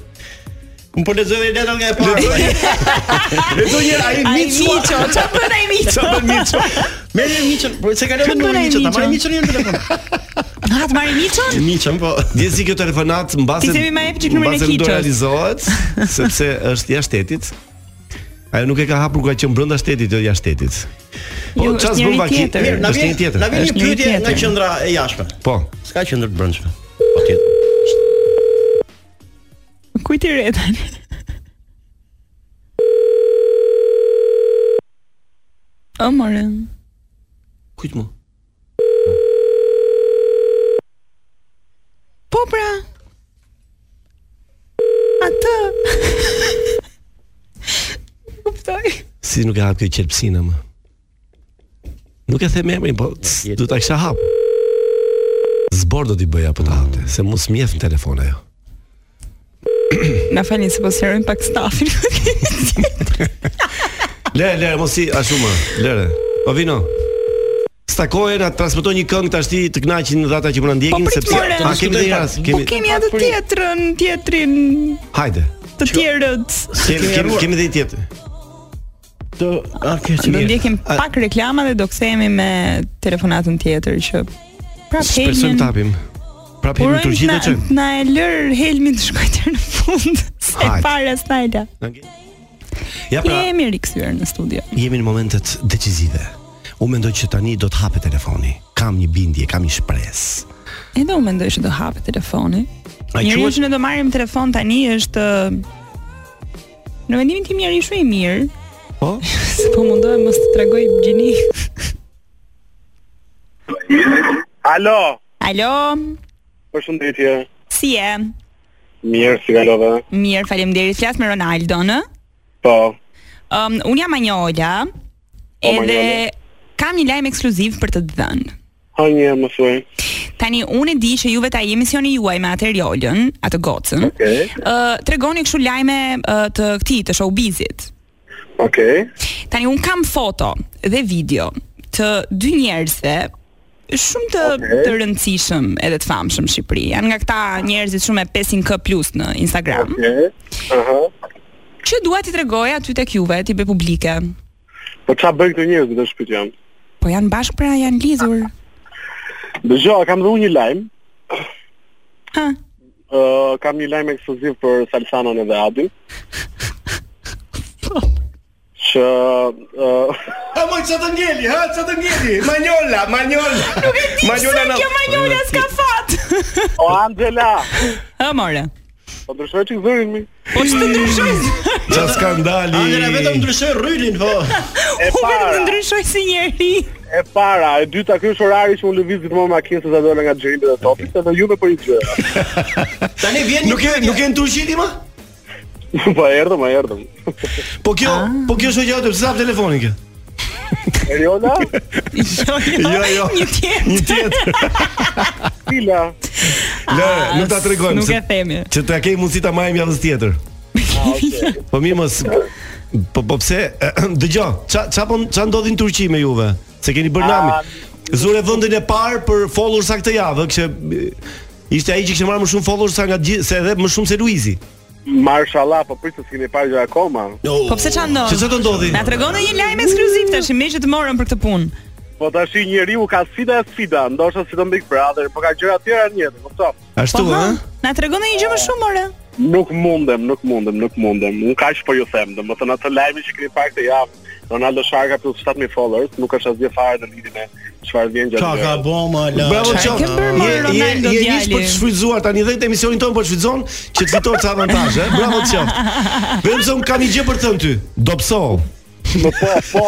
Unë po lexoj dhe letrat nga e para.
Vetë një ai
Ai
Miço.
Miço, çfarë bën ai Miço?
Çfarë bën Miço?
Merrni miçën, po se kalon
Çfarë
në
bën ai
miçën, ta
Miço?
marrë miçën në telefon.
Ha, të marrim Miçon?
Miçon po. Dje si kjo telefonat mbase
Ti themi ma jep çik numrin e
mbase nuk do
Kiçës.
realizohet sepse është jashtë shtetit. Ajo nuk e ka hapur ku ka qenë brenda shtetit, jo jashtë shtetit. Po,
Jo, është
çfarë bën
njëri
vaki?
tjetër. Mirë, na
Është
vjen-
një tjetër.
na vjen një
Është
pyetje nga
tjetër.
qendra e jashtme.
Po.
S'ka qendër të brendshme. Po tjetër.
Kujt i re tani? O more.
Kujt mu?
Po pra. Atë. Kuptoj.
Si nuk e hap kjo qelpsinë më. Nuk e them emrin, po c- do ta kisha hap. Zbor do t'i bëja po ta hapte, se mos mjef në telefon ajo.
Na falni se po sqarojm pak stafin.
Lere, lere, mos i ashtu më. Lere. Po vino. Stakohen, na transmetoj një këngë tash ti të kënaqin dhe ata që po na ndjekin sepse
more.
a kemi dhe një rast,
Po
kemi
kemi atë tjetrën, tjetrin,
hajde.
të tjerët.
Kemi kemi, kemi dhe një tjetër. Do,
Ah,
a ke
Do ndjekim pak reklama dhe do kthehemi me telefonatën tjetër që prap
Shpresojmë
Helmin.
të hapim. Prapë hemi në Turqi
na,
dhe çojmë.
na e lër Helmin të shkojë deri në fund. Se
Hajde.
para snajla.
Ja pra,
Jemi rikthyer në studio.
jemi në momentet decisive. Unë mendoj që tani do të hapet telefoni. Kam një bindje, kam një shpresë.
Edhe unë mendoj se do hapet telefoni.
A
Njeriu
quhet-
që ne do marrim telefon tani është ë, në vendimin tim njeriu shumë i mirë.
Po?
Se po mundohem mos të tregoj gjini.
Alo,
Alo,
përshëndetje.
si je?
Mirë, si kalove?
Mirë, faleminderit. Flas me Ronaldo, në?
Po.
Um, unë jam Anjola.
Po,
Edhe kam një lajm ekskluziv për të të dhënë.
Ha një më thuaj.
Tani unë e di që juve ta jemi misioni juaj me atë Riolën, atë gocën. Okej. tregoni kështu lajme ë, të këtij të showbizit.
Okej.
Tani un kam foto dhe video të dy njerëzve shumë të të rëndësishëm edhe të famshëm në Shqipëri. Janë nga këta njerëzit shumë e 500k plus në Instagram.
Okej. Aha.
Që dua t'i tregoj aty tek juve, ti be publike.
Po ç'a bën këto njerëz do shpyt jam?
Po janë bashkë pra janë lidhur.
Dëgjoj, kam dhe unë një lajm.
Ha.
Uh, kam një lajm ekskluziv për Salsanën edhe Adin. që uh,
A moj çfarë të ngeli, ha, çfarë të ngeli? Manjola, Manjola. Nuk e
di pse kjo Manjola s'ka fat.
o Angela.
Ë more.
Po ndryshoj çik zërin mi.
Po ç'të ndryshoj?
Mm, Qa skandali.
Angela vetëm ndryshoi rrylin, po.
E para.
ndryshoj si njeri.
E para, e dyta ky është orari që unë lëviz gjithmonë makinë se sa dola nga xhirimi dhe topi, okay. edhe juve për një gjë.
Tani vjen
Nuk e nuk e në Turqi ti më?
po erdhëm, po erdhëm.
Po kjo,
Ah.
po kjo shoqja jote, pse sa telefonin kjo?
Eriola?
jo,
jo, jo. Një
tjetër.
Një tjetër.
Cila?
Le, nuk ta tregojmë.
Nuk
se-
e themi.
Që ta kemi mundësi ta marrim javën tjetër. Po mirë mos. Po po pse? Dëgjoj, ça ça po ça ndodhi në Turqi me juve? Se keni bërë nami. Zure vendin e parë për followers sa këtë javë, kështë ishte ai që kishte marrë më shumë followers sa nga gjithë, se edhe më shumë se Luizi.
Mashallah, po prit se s'keni parë gjë akoma.
Po pse ç'a ndodh?
Që ç'a do ndodhi?
Na tregon një lajm ekskluziv tash, me që të morën për këtë punë.
Po tash njeriu ka sfida e sfida, ndoshta si do Big Brother, po ka gjëra të tjera në jetë, kupton?
Ashtu,
po, ha? Na tregon një gjë më shumë ore.
Nuk mundem, nuk mundem, nuk mundem. Unë kaq po ju them, domethënë atë lajmin që keni parë këtë javë, Ronaldo Sharka plus 7000 followers, nuk është asgjë fare në lidhje me çfarë vjen gjatë.
Ka ka
gjërave.
boma la.
Bravo
Çfarë
qof.
ke bërë,
Je
Ronaldo,
je je nis
djali?
për të shfrytzuar tani dhe këtë emisionin ton po të shfrytëzon që të fitosh ca avantazhe. eh? Bravo qof. Vetëm se un kam një gjë për të thënë ty. Dobso.
Po po.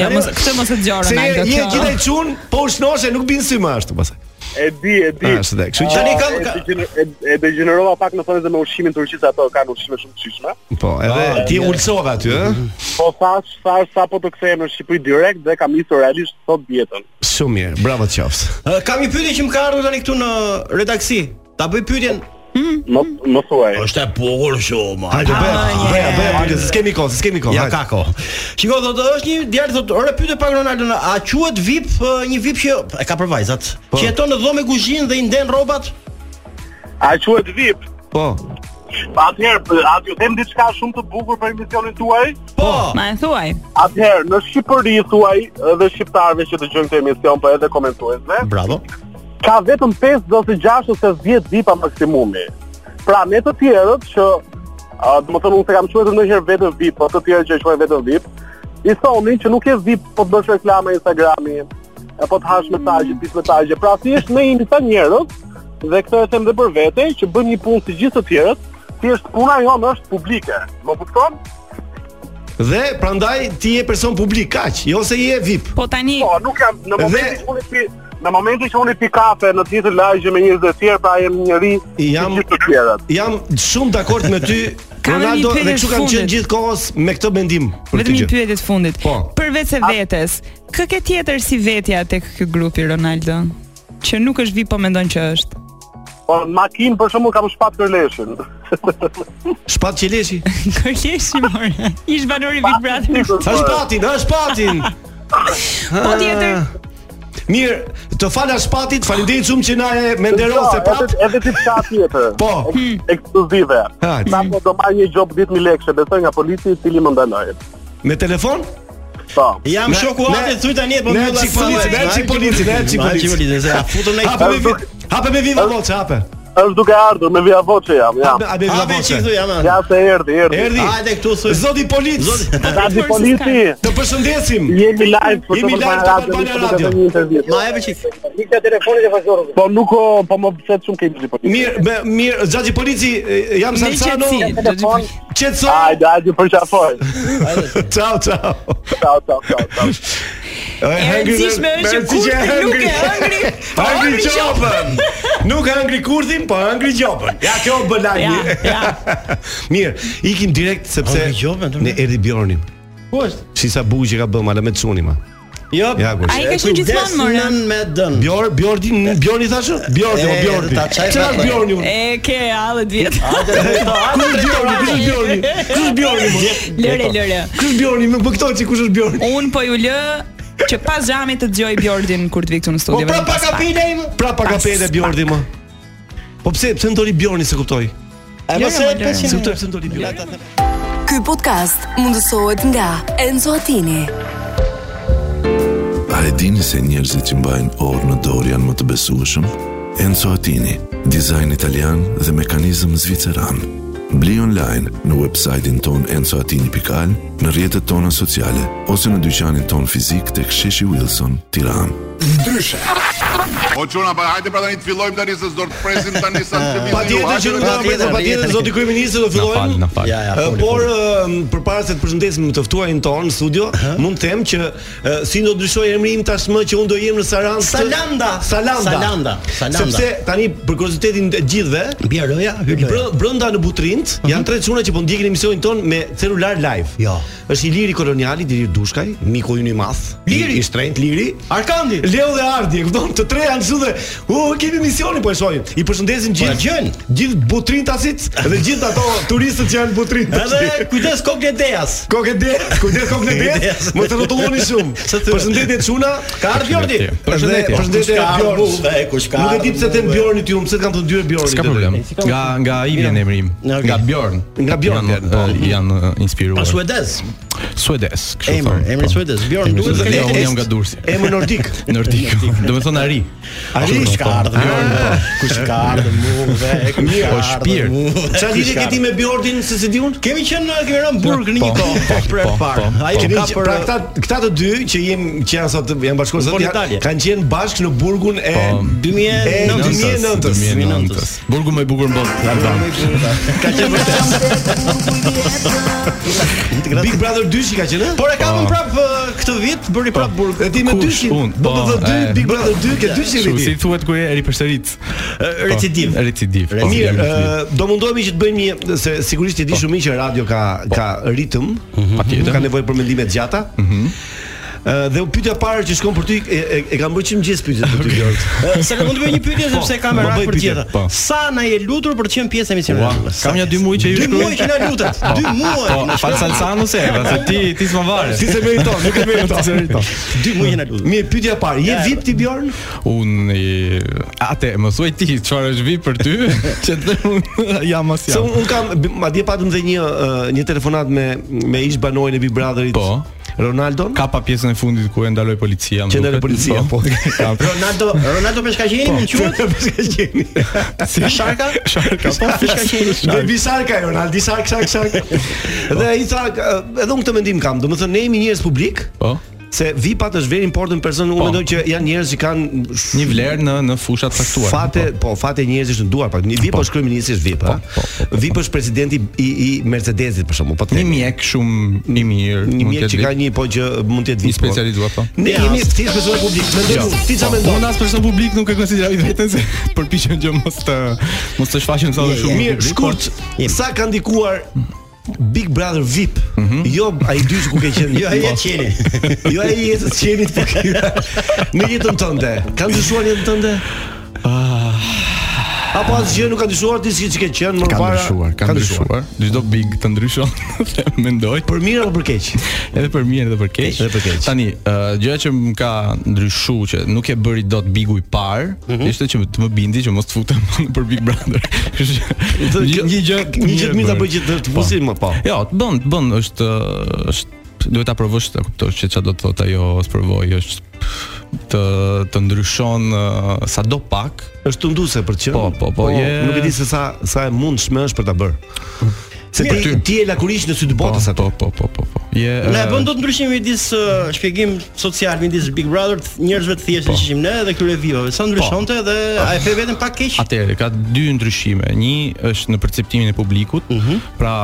Jo, mos këtë mos e dëgjoj
Se je
Ronaldo.
je
kjo.
gjithaj çun, po ushnoshe, nuk bin sy më ashtu pastaj.
E di, e di.
Ah, është dhe, kështu që-
Ah,
Tani kam-
e degener- e- E degenerova pak në thënë se me ushqimin turqisë ato kanë ushqime shumë të shishme.
Po, edhe
Ah,
ti
mirë.
ulsove aty, eh? ëh?
Po thash, thash sapo po të kthehem në Shqipëri direkt dhe kam nisur realisht sot dietën.
Shumë mirë, bravo qofs.
Ë, Eh, Kam një pyetje që më ka ardhur tani këtu në redaksi. Ta bëj pyetjen.
Më më thuaj.
Është e bukur shumë.
Hajde bëj, bëj, bëj, hajde, s'kemi kohë, s'kemi kohë.
Ja
hajde.
ka kohë. Shiko, thotë është një djalë thotë, "Ore pyete pak Ronaldo, a quhet VIP ë, eh, një VIP që e ka për vajzat,
Po.
që jeton në dhomë me kuzhinë dhe i nden rrobat?"
A quhet VIP?
Po.
Atëherë, p- atë ju them diçka shumë të bukur për emisionin tuaj.
Po. Ma e thuaj.
Atëherë, në Shqipëri thuaj edhe shqiptarëve që dëgjojnë këtë emision, po edhe komentuesve.
Bravo.
Ka vetëm 5 ose 6 ose 10 dipa maksimumi. Pra me të tjerët që uh, do të thonë unë se kam quajtur ndonjëherë vetëm VIP, po të tjerë që e quajnë vetëm VIP, i thonin që nuk je VIP po të bësh reklama Instagrami, e po të hash mesazhe, pis mesazhe. Pra thjesht ne jemi sa njerëz dhe këtë e them dhe për vete që bëjmë një punë si gjithë të tjerët, thjesht puna jonë është publike. Më kupton?
Dhe prandaj ti je person publik kaq, jo se je VIP.
Po tani.
Po, nuk jam në momentin që unë pi Në momentin që unë i pi kafe në tjetër lagje me njerëz të tjerë, pra jam njëri
jam
të tjerët.
Jam shumë dakord me ty.
Kam një
Ronaldo
pyetje
dhe kështu kam
fundit.
qenë gjithkohës me këtë mendim për
Vetëm
këtë
një
gjë.
pyetje të fundit.
Po.
Përveç se vetes, kë ke tjetër si vetja tek ky grupi Ronaldo? Që nuk është VIP po mendon që është.
Po në makinë për shembull kam shpat kërleshin.
Shpat qeleshi.
Kërkeshi more. Ish pra banori Big Brother.
Sa shpatin, ha shpatin.
Po tjetër.
Ah. Mirë, të fala shpatit, faleminderit shumë që na e menderose
Jo,
prap.
Edhe edhe diçka tjetër.
Po.
Ekskluzive. Sapo do marr një job 10000 lekë, besoj nga polici i cili më ndaloi.
Me telefon?
Po.
Jam shoku atë thuj tani po
Ne
mbylla
çik
sallën.
polici, ne çik polici, ne çik
Na e
polici.
çik polici, se ja futëm ne i
Hape me vi- hape me viva voce, hape.
Është duke ardhur me via voce jam, jam.
Hape- hape via voce.
Ja se erdhi, erdhi.
Erdi.
Hajde këtu thuj.
Zoti polic.
Zoti-
Zoti polici.
Të përshëndesim.
Jemi live për
Jemi live
Albana
të
Radio,
Albana
duke
Radio.
bërë një intervistë.
Ma jepë çik.
Nikta telefonit e vazhdorës. Po nuk o, po më pëlqet shumë kemi polici.
Mirë, me, mirë, Xhaxhi Polici, e, jam
Me
Salsano.
qetësi, Xhaxhi Polici.
Qetëso.
Hajde, hajde për qafoj.
Ciao, ciao.
Ciao, ciao, ciao, ciao.
E
rëndësishme është që kurthi nuk e hëngri, po
Hëngri
hëngri
qopën. Nuk e hëngri kurthin, po hëngri gjopën. Ja kjo bë lajmi.
Ja,
Mirë, ikim direkt sepse
Hëngri gjopën,
ne erdhi Bjorni.
Ku është?
Si sa buj që ka bëm ala me çuni ma.
Jo.
Ja ku.
Ai ka qenë gjithmonë more.
Nën me dën.
Bjor, Bjordi, Bjorni thashë? Bjordi,
E,
Bjordi.
ta çaj
jo, Çfarë
vetë.
Bjorni? unë?
E ke alle 10 vjet.
Ku është Bjorni? Ku është Bjorni? Ku është Bjorni? mo?
Lëre, lëre.
Ku është Bjorni? Më bëktoj që kush është Bjorni.
Un po ju lë që pas xhamit të dëgjoj Bjordin kur të vi këtu në
Po
studio.
pra
vetëm
pa
pas pak.
kapile im. Pra pa
Pas
kapele
pak.
Bjordi më. Po pse pse ndoli Bjorni se kuptoj?
E
Lëre,
mos e
mo, lëre.
po Se
500.
kuptoj pse ndoli Bjorni.
Ky podcast mundësohet nga Enzo Attini.
A e dini se njerëzit që mbajnë orë në dorë janë më të besueshëm? Enzo Attini, dizajn italian dhe mekanizëm zviceran. Bli online në websajtin ton enzoatini.al, në rjetët tona sociale, ose në dyqanin ton fizik të ksheshi Wilson, tiran.
O çuna, pa hajde pra tani të fillojmë tani se s'do të presim tani sa të vijë.
Patjetër që nuk do
patjetër,
apres, patjetër
patjetër.
zoti kryeministri do fillojmë.
na fal.
Ja, ja,
Eh,
foli,
Por
foli.
eh, përpara se të përshëndesim të ftuarin ton në studio, mund të them që eh, si do ndryshoj emri im tashmë që unë do jem në Sarandë.
Salanda.
Salanda.
Salanda. Salanda.
Sepse tani për kuriozitetin e gjithëve,
Bia roja, hyr loja.
brë- brenda në Butrint janë tre çuna që po ndjekin emisionin ton me celular live.
Jo.
Është Iliri Koloniali, Iliri Dushkaj, miku ynë i madh.
Liri.
i- i shtrenjtë Liri.
Arkandi.
Leo dhe Ardi, e kupton? Të tre janë këtu dhe u kemi misionin po e shohim. I përshëndesim
Po, gjën.
gjithë gjithë butrintasit dhe gjithë ato turistët që janë butrint.
Edhe kujdes kokën e Deas.
Kokë de, kujdes kokë në de,
Kujdes.
mos të rrotulloni shumë.
Se thua.
Përshëndetje Çuna, ka ardhur Bjordi.
Përshëndetje.
Dhe Përshëndetje
Kush ka
Bjorn.
ardhur, e, kush ka
Nuk e di pse them
ardhur, e.
Bjorni ti, unë pse të kam të ndyer Bjorni. te
S'ka problem.
drejtë.
Nga nga i vjen emri im.
Nga-
Nga Bjorn.
Nga Bjorn,
janë
po.
eh, janë eh,
Pa
inspiruar.
suedez.
Suedes, kështu
Emër,
thonë,
emri
po.
suedez. Bjorn,
Emri
duhet
suedez.
të
Jo,
ketë
unë
est.
jam nga Durrësi.
Emër nordik.
Nordik. Do të thonë Ari.
Ari
Ashtu,
ka
po.
ardhur.
Bjorn, po.
Kush ka ardhur mu dhe
Mirë, o shpirt.
Po, Çfarë lidhje ke ti me Bjordin se se di unë?
Kemi qenë në kemi rënë burg në një
Po, po,
kohë për e
po,
parë.
po,
Ai
po.
që
Kemi
ka
që-
për
pra këta këta të dy që jemi që janë sot janë bashkuar sot
Por
janë-
Italia.
kanë qenë bashkë në burgun e
Po.
2009
2009-s.
2009-s. Burgu më i bukur në botë. Albani.
ka qenë vërtet.
Big Brother 2 që ka qenë? ë?
Por e kapën
Po.
prap ë, këtë vit, bëri prap burg.
E ti me
Kush?
dyshin. Po
Unë, po,
po dy
e.
Big Brother 2 ke dyshin
Kështu,
ti.
si thuhet kur e ripërsërit? Po,
Recidiv.
Recidiv. po.
Mirë,
Jam recidiv.
ë, do mundohemi që të bëjmë një se sigurisht e di shumë mirë që radio ka ka ritëm,
Po. Mhm. Patjetër. Mhm.
ka nevojë për mendime të gjata. Ë, dhe u pyetja parë që shkon për ty e, e, e kam bërë çim gjithë pyetjet për ty Lord.
Ë, Se ka mund të bëj një pyetje
Po,
sepse kam
po,
rak
bëj
për
pyetje,
tjetër.
po.
Sa na je lutur për të qenë pjesë e misionit?
Ua, kam ja dy muaj që ju
Dy
shkruaj.
muaj që na lutet.
Po.
Dy muaj.
Po, fal Salsano se, Eva, se ti ti s'ma vare.
Si se meriton, nuk e meriton.
Si se meriton.
Dy muaj që na lutet.
Mirë, pyetja e parë, je VIP ti Bjorn?
Unë i... Ate, më thuaj ti, çfarë është vi për ty? që të unë jam as
Se
jam.
un, un kam b- madje patëm dhe një uh, një telefonat me me ish banorin e Big Brotherit. Po. Ronaldon?
Ka pa pjesën e fundit ku e ndaloi policia. më
Që ndaloi
duket. Po.
policia, po.
Ka-
Ronaldo, Ronaldo Peshkaqeni, më quhet?
Peshkaqeni.
Si Sharka?
Sharka,
po Peshkaqeni.
Dhe vi sarka e Ronaldi sark sark sark. Dhe ai tha "Ë, edhe unë këtë mendim kam, domethënë ne jemi njerëz publik.
Po.
Se VIP-at është very important person, unë mendoj që janë njerëz që kanë
Një vlerë në në fusha të caktuara.
Fate, po, fate njerëzish në duar pak. Një
Po.
VIP është kryeministi është VIP, ha. VIP është presidenti i i Mercedesit për shembull, po të
Një mjek shumë i mirë.
Një
mund
mjek
t'jetë
që ka
VIP.
një po që mund të jetë
i
VIP. po.
specializuar po.
Ne jemi thjesht persona publik, mendoj
Jo.
unë. Ti çfarë
Po,
mendon?
Unë as person publik nuk e konsideroj veten se përpiqem që mos të mos të shfaqem sa më shumë. në
Jo, Mirë,
publik,
shkurt,
po.
sa ka ndikuar Big Brother VIP.
Mhm.
Jo ai dy që ku ke qenë. Po.
Jo, ai e qeni.
Jo ai e jetës qenit po ky. Në jetën tënde, ka ndryshuar jetën tënde?
Ah.
Apo asgjë nuk ka ndryshuar ti si që ke qenë më
Ka
parë?
ndryshuar, ka ndryshuar. Çdo big të ndryshon, se mendoj.
Për mirë apo për keq?
Edhe për mirë edhe për keq. Edhe për keq. Tani, ë, gjëja që më ka ndryshuar që nuk e bëri dot bigu i parë,
Mhm.
ishte që të më bindi që mos të futem për Big Brother. Kështu që
Dhe
një
kjo-
një gjë
një gjë të mirë ta bëj që të- të fusim, po.
Jo, të bën, të bën, është ë, është duhet ta provosh ta kuptosh që çfarë do të thotë ajo, sprovoj, është të të ndryshon ë, sado pak.
Është tunduese për të qenë.
Po, po, po, je
Nuk e di se sa sa e mundshme është për ta bërë. Se
Mirë,
ti
Po, ty.
ti je lakurish në sy të botës atë.
Po, po, po, po, po. Je
Na e
ë,
bën dot ndryshim midis ë, shpjegim social midis Big Brother, të njerëzve të
Po.
thjeshtë që ishim ne dhe këtyre vivave. Sa ndryshonte dhe a e fe veten pak keq?
Atëherë ka dy ndryshime. Një është në perceptimin e publikut,
Mhm.
pra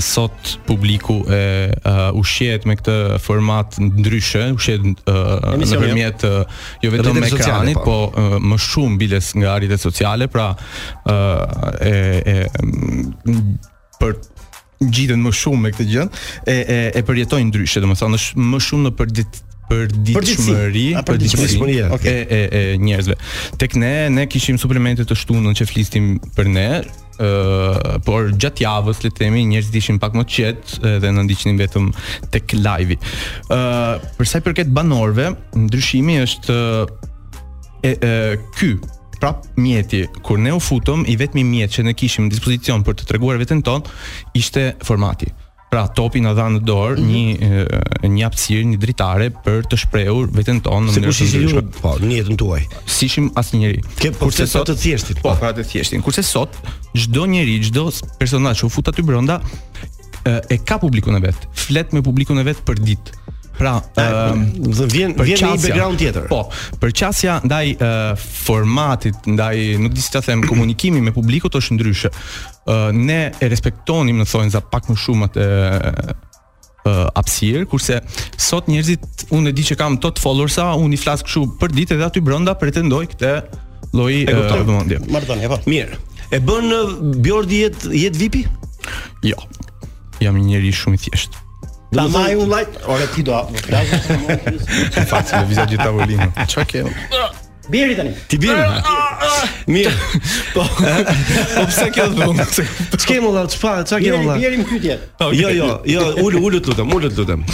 sot publiku e uh, ushqehet me këtë format ndryshe, ushqehet uh,
Emisioni,
nëpërmjet uh, jo vetëm
Rrjeteve sociale,
ekranit,
po.
po uh, më shumë biles nga rrjetet sociale, pra uh, e, e m, për ngjiten më shumë me këtë gjë, e e, e përjetojnë ndryshe, domethënë është më shumë në përdit përditshmëri,
A, përditshmëri,
përditshmëri,
okay.
e e e njerëzve. Tek ne ne kishim suplemente të shtunën që flisnim për ne, ë por gjatë javës le të themi njerëzit ishin pak më të qetë e, dhe na ndiqnin vetëm tek live-i. ë për sa i përket banorëve, ndryshimi është e, e ky prap mjeti kur ne u futëm i vetmi mjet që ne kishim në dispozicion për të treguar veten ton ishte formati. Pra topi na dha në dorë
Mhm.
një e, një hapësirë, një dritare për të shprehur veten tonë në
Se
mënyrë
kush
të
ishte ju
ndryshme.
në- po në jetën tuaj?
Si ishim asnjëri.
Ke po pse sot të thjeshtit?
Po, pra të thjeshtin. Kurse sot çdo njeri, çdo s- personazh që u fut aty brenda e, e ka publikun e vet. Flet me publikun e vet për ditë. Pra,
po.
ëm,
Do të vjen vjen në një
përqasja.
background tjetër.
Po, përqasja ndaj ë, formatit, ndaj nuk di si ta them, komunikimi me publikut është ndryshe. Ë, ne e respektonim në thonjza pak më shumë atë ë, ë, hapësirë, kurse sot njerëzit unë e di që kam tot followersa, unë i flas kështu për ditë dhe aty brenda pretendoj këtë lloj
E kuptoj.
ë, vëmendje.
Marrëdhënie, po.
Mirë. E bën ë, Bjordi jet jet VIP?
Jo. Jam një njerëz shumë i thjeshtë.
Ta maj un light, ore ti do.
Fakt se viza gjithë tavolinën. Çfarë ke?
Bieri tani.
Ti bën? ah, Mirë. Po.
Po pse kjo vëmë?
Ç'ke më dha? Çfarë? Çfarë ke më
Bieri,
dha?
bieri më pyetje.
Jo, jo, jo, ulu, ulu të lutem, ulu të lutem.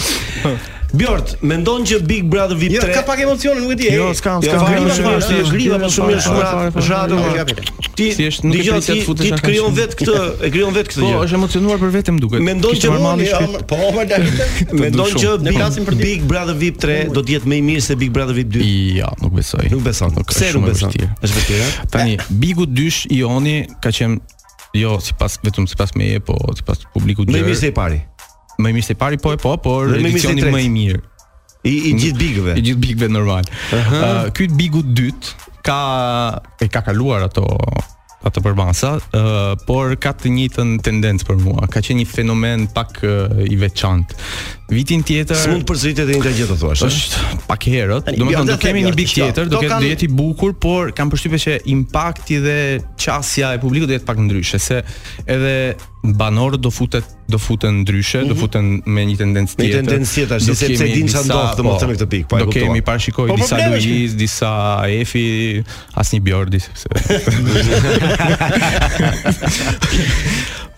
Bjort, mendon që Big Brother VIP 3
Jo, ka pak emocione, nuk e di. e.
Jo, s'kam,
Jo,
s'kam.
fare,
Griva,
më
fare, fare,
shumë mirë, shumë mirë, griva, më
fare,
shumë mirë, shumë
fare,
rat-
fare,
ratë.
fare,
më. Ti
Thjesht nuk e
dëgjoj,
prit se
ti-
të futesh
Ti
në
të krijon
kaqen.
vet këtë, e krijon vet këtë
Po,
gjë.
është emocionuar për veten duket.
Mendon që
normali
mund-
shpejt.
Po, më dalit.
Mendon
shumë.
që
Ne flasim për
Big,
ti.
Big Brother VIP 3 do të jetë më i mirë se Big Brother VIP 2?
Ja, nuk besoj.
Nuk beson.
Nuk,
Pse
është
nuk
shumë e
beson?
vështirë.
Është vërtetë? a?
Tani Bigu dysh Ioni ka qenë jo sipas vetëm sipas meje, po sipas publikut
Më i
gjerë.
mirë se i pari.
më i mirë se i pari, po e po, por
Dhe më i mirë se i
edicioni
tretë.
më i mirë.
I i gjithë bigëve.
I gjithë bigëve normal. Ë, Ky Bigu dyt ka e ka kaluar ato ato përbasa, uh, por ka të njëjtën tendencë për mua. Ka qenë një fenomen pak ë, i ah, veçantë. Vitin tjetër
S'mund të përsëritet e njëjta gjë, të thuash, ëh?
Është pak herët.
Tani, jo,
Domethënë
Bjorn,
do
ta
kemi
them,
një bik
Bjorn,
tjetër,
do
do ketë
kanë-
do jetë i bukur, por kam përshtypjen se impakti dhe qasja e publikut do jetë pak ndryshe, se edhe banorët do futet do futen ndryshe, do futen me një tendencë
Mhm. Me një
tjetër.
tendencë tjetër,
Do
sepse
kemi
e din çfarë
disa-
ndodh, domethënë, në këtë pikë, po, e
Do
kuptova.
kemi parashikoj
Po,
disa
problemi është-
Luiz, disa Efi, asnjë Bjordi sepse.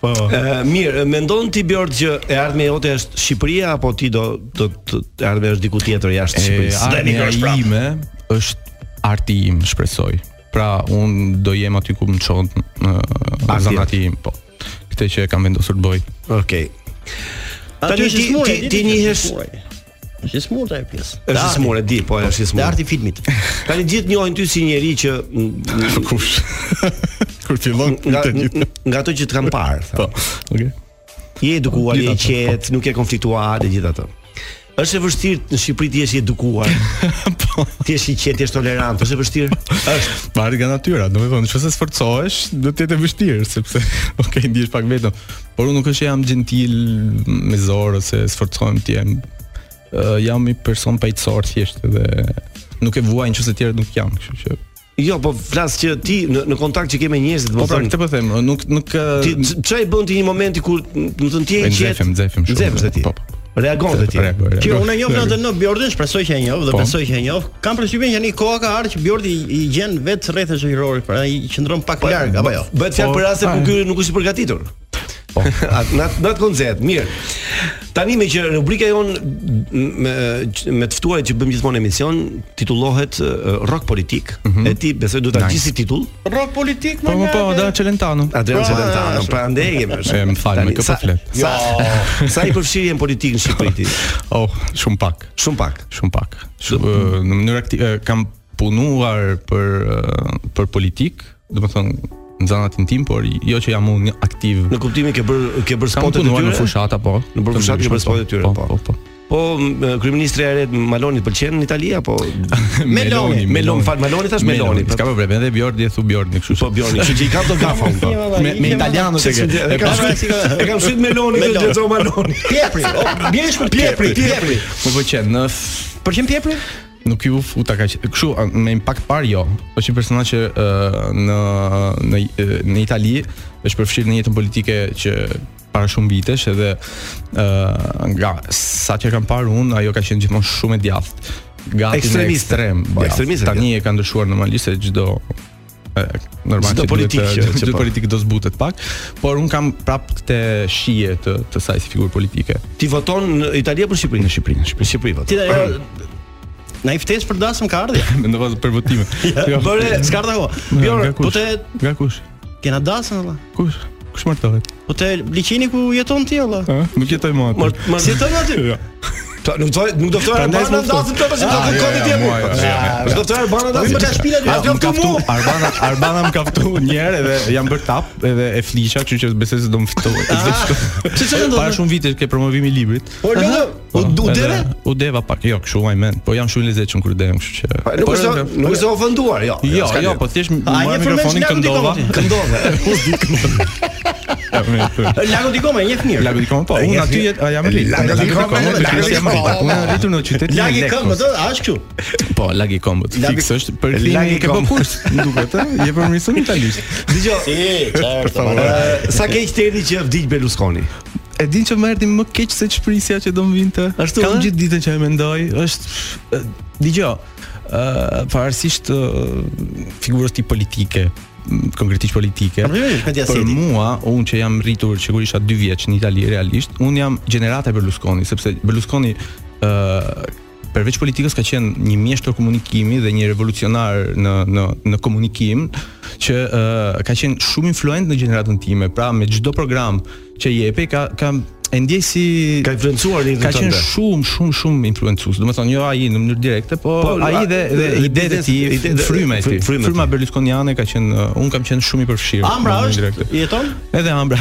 Po. mirë, mendon ti Bjord që e ardhmja jote është Shqipëria apo ti do do të të ardhmja është diku tjetër jashtë Shqipërisë?
E,
Dani
ardhmja
Grosh, prap.
ime është arti im, shpresoj. Pra, unë do jem aty ku më çon uh,
Arti.
zanati im, po. Këtë që e kam vendosur të bëj.
Okej. Tani ti ti ti njihesh
Është smur ta e pjesë.
është i smur, e di, po është i smur.
Dhe arti i filmit.
Tani gjithë njohin ty si njeri që mm,
kush kur fillon
nga nga ato që të kam parë. Po.
Okej.
Je edukuar, je i
Gjithë ato, po.
qetë, nuk je konfliktuar dhe gjithë ato. Është e vështirë në Shqipëri ti jesh i edukuar. po. Ti je i qetë, je tolerant, është e vështirë. Është.
Pari nga natyra, do me thonë, nëse sforcohesh, do të jetë e vështirë, sepse, okej, ndihesh pak vetëm, por unë nuk është që jam gentil me zorë, ose sforcohem të jem, uh, jam i person pajtësor thjesht, edhe nuk e vuaj në qëse tjerë nuk jam, kështu që...
Jo, po flas që ti në, në kontakt që ke me njerëzit,
Po pra,
domethënë.
këtë po them, nuk nuk
Ti ç- çfarë i bën ti një momenti kur, domethënë ti je
e
i qetë.
nxefim, nxefim shumë.
Nxefesh ti.
Po.
Reagon dhe ti.
Reagoj, reagoj.
Që unë e njoh natën në Bjordin, shpresoj që e njoh dhe
Po.
besoj që e njoh. Kam përshtypjen që një koha ka ardhur që Bjordi i i gjen vetë rrethe shoqërore, pra i qëndron
Po,
pak larg apo jo.
Bëhet fjalë për raste ku ky nuk është i përgatitur.
Po.
Na na të koncert, mirë. Tani me që rubrika jon me, me të ftuarit që bëm gjithmonë emision titullohet ë, Rock Politik. E ti besoj duhet ta
Mhm. Nice.
gjisi titull.
Rock politik
Po, po, po, da Celentano.
Adrian Celentano, prandaj jemi.
Po, E, më fal, me
Tani,
kë po
sa-
flet.
Sa, sa i përfshirje në politikë në Shqipëri ti?
Oh, shumë pak.
Shumë pak.
Shumë pak. Shumë, ë, në mënyrë aktive kam punuar për ë, për politik, domethënë në zanatin tim, por jo që jam unë aktiv.
Në kuptimin ke bër ke bër
Kam
spotet e
punuar
tyre.
në fushata po.
Në bër
Të
fushat ke
ndryshme,
bër spotet e tyre, po.
Po, po.
Po, m- kryeministri e re Maloni pëlqen në Itali apo Meloni, Meloni, fal Maloni thash Meloni.
Ka problem edhe Bjordi e thu Bjordi, kështu.
Po Bjordi, kështu që i kam të gafa unë. po.
Me me italiano
Se
se ke.
s'm di- e kam shkruajt- e kam shkruajt Meloni dhe
Meloni.
Gjergjo Maloni.
Pjepri, o, bjesh për
Pjepri, pjepri.
Më pëlqen. Në f-
Pëlqen pjepri?
Nuk ju futa kaq. Kështu a, me impakt par jo. Është një personazh që ë, në në ë, në Itali është përfshirë në jetën politike që para shumë vitesh edhe ë nga sa që kam parë unë ajo ka qenë gjithmonë shumë e djathtë. Gati
Ekstremiste.
në ekstrem.
Po, ekstremiste,
Tani e ka ndryshuar normalisht se çdo e, normal
Çdo
që duhet
politik që-
të-
që
çdo
po.
politik do zbutet pak, por un kam prap këtë shije të të saj si figurë politike.
Ti voton në Itali apo në Shqipëri?
Në Shqipëri, në Shqipëri.
Në Shqipëri po.
Ti
voton.
da Na i ftesë për dasëm ka ardhje.
Mendova për votime.
Bëre, s'ka ardha kohë. Bjorn,
nga
po
kush?
te
Nga kush?
kena dasën valla.
Kush? Kush martohet?
Po te liçeni ku jeton ti valla.
Ë, nuk jetoj më aty.
Mor- mor-
Si jeton aty?
Jo.
Ta- Nuk do nuk do të
Prandaj
Arbana
s'm
ndasim të pasi do
Ah,
të
jo,
kodi
jo,
ti.
mua, jo, jo, jo.
Do të Arbana ndasim
Po,
të
ka shpila ty.
A do
Më
të
kaftu,
mu?
Arbana, Arbana më kaftu një herë edhe jam bërë tap edhe e flisha, kështu që besoj se do më fitoj.
Ah, pse çfarë ndodhi?
Para shumë vitesh ke promovimi i librit.
Po
Aha.
lëndë, u
Po,
u
edhe
deve?
U deva pak, jo, kështu I men. Po jam shumë i lezetshëm kur dem, kështu që.
Pa, Nuk
Po,
është
edhe-
nuk është ofenduar, jo.
Jo,
s'ka
jo,
lirë.
po thjesht më
A, një
marr
përmend
mikrofonin
që lagu
këndova.
dikon ti.
Këndove.
Lagu dikome, një fëmijë.
Lagu dikon po, unë aty jet, a jam rrit.
Lagu
Lagu
dikon,
dikon,
lagu
unë
dikon.
jam rrit. Unë jam rritur në qytetin e
Lagi këmbë,
Lekës.
do, a është kështu?
Po, lagi kombët.
Lagi-
Fiks është për
Lagi
këtë ke bën
kombët.
kurs, më duket, ë? Je përmirësuar italisht.
Dgjoj.
Për
favor.
Ë, Sa keq të erdhi që vdiq Berlusconi.
E din që më erdhi më keq se çprisja që do më vinte.
Ashtu,
Kam
ë?
gjithë ditën që e mendoj, është ë, dëgjoj, ë pavarësisht ë, figurës ti politike, m, konkretisht politike.
Problemet me
Për
diasetin.
mua, unë që jam rritur që kur isha 2 vjeç në Itali realisht, unë jam gjenerata e Berlusconi, sepse Berlusconi ë përveç politikës ka qenë një mjeshtër komunikimi dhe një revolucionar në në në komunikim që ë ka qenë shumë influent në gjeneratën time, pra me çdo program që jepi ka ka e ndjej si
Ka influencuar një
ka
tënde.
qenë shumë shumë shumë influencues. Domethënë jo ai në mënyrë direkte, po,
Po, a-
ai dhe dhe
dhe
idetë e tij,
ide- dhe-
fryma e tij.
fryma e tij.
Fryma berlusconiane ka qenë ë, un kam qenë shumë i përfshirë.
Ambra
në mënyrë
është?
direkte.
Jeton?
Edhe Ambra.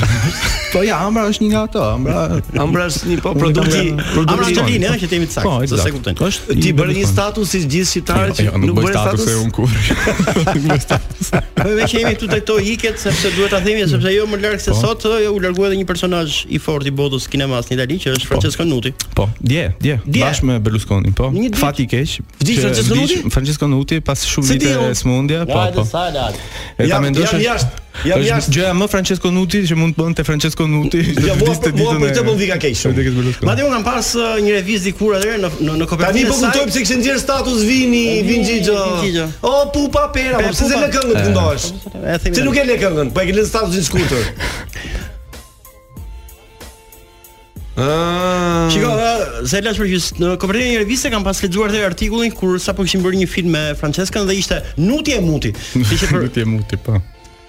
po ja, Ambra është një nga ato, Ambra.
Ambra është një po produkti
Ambra
produkti-
Çelini, ëh, që themi të
Po,
saktë, se
eksakt.
se kuptojnë.
Është
Ti bërë
i
një
Berlusconi.
status si gjithë shqiptarët
Jo, jo, nuk bëj
bërë
status e unë kur.
Po vetë që jemi këtu tek to iket sepse duhet ta themi sepse jo më larg se sot ë, u largua edhe një personazh i fortë i botës drejtues kinemas në Itali që është Francesco Nuti.
Po, dje, dje,
Dje.
bashkë me Berlusconi, po.
Një ditë.
Fati i keq.
Vdiq
që
Francesco
vdiq
Nuti?
Francesco Nuti pas
Se
shumë
di
viteve
unë.
smundje, po,
Hajde,
po.
sa lart.
E ta
Jam-
mendosh.
jam
është-
jashtë, jam
është
jashtë.
Gjëja më Francesco Nuti që mund të bënte Francesco Nuti.
Ja, mua- mua për këtë po vika keq shumë.
keq.
Madje un kam pas uh, një reviz dikur atëherë në në në
Tani
kooperativën
po kuptoj pse kishte nxjerr status vini, vin Xhixho. O pupa pera,
Pe,
po pse
pupa.
se lë këngën të
E,
këndosh?
e, themi
Se
tani.
nuk e lë këngën, po e ke lënë statusin shkurtër. Ah.
Shiko, ë, se lash përgjys, në kooperativën e një reviste kam pas lexuar dhe artikullin kur sapo kishim bërë një film me Franceskën dhe ishte Nuti e Muti. Ishte për
Nuti e Muti, po.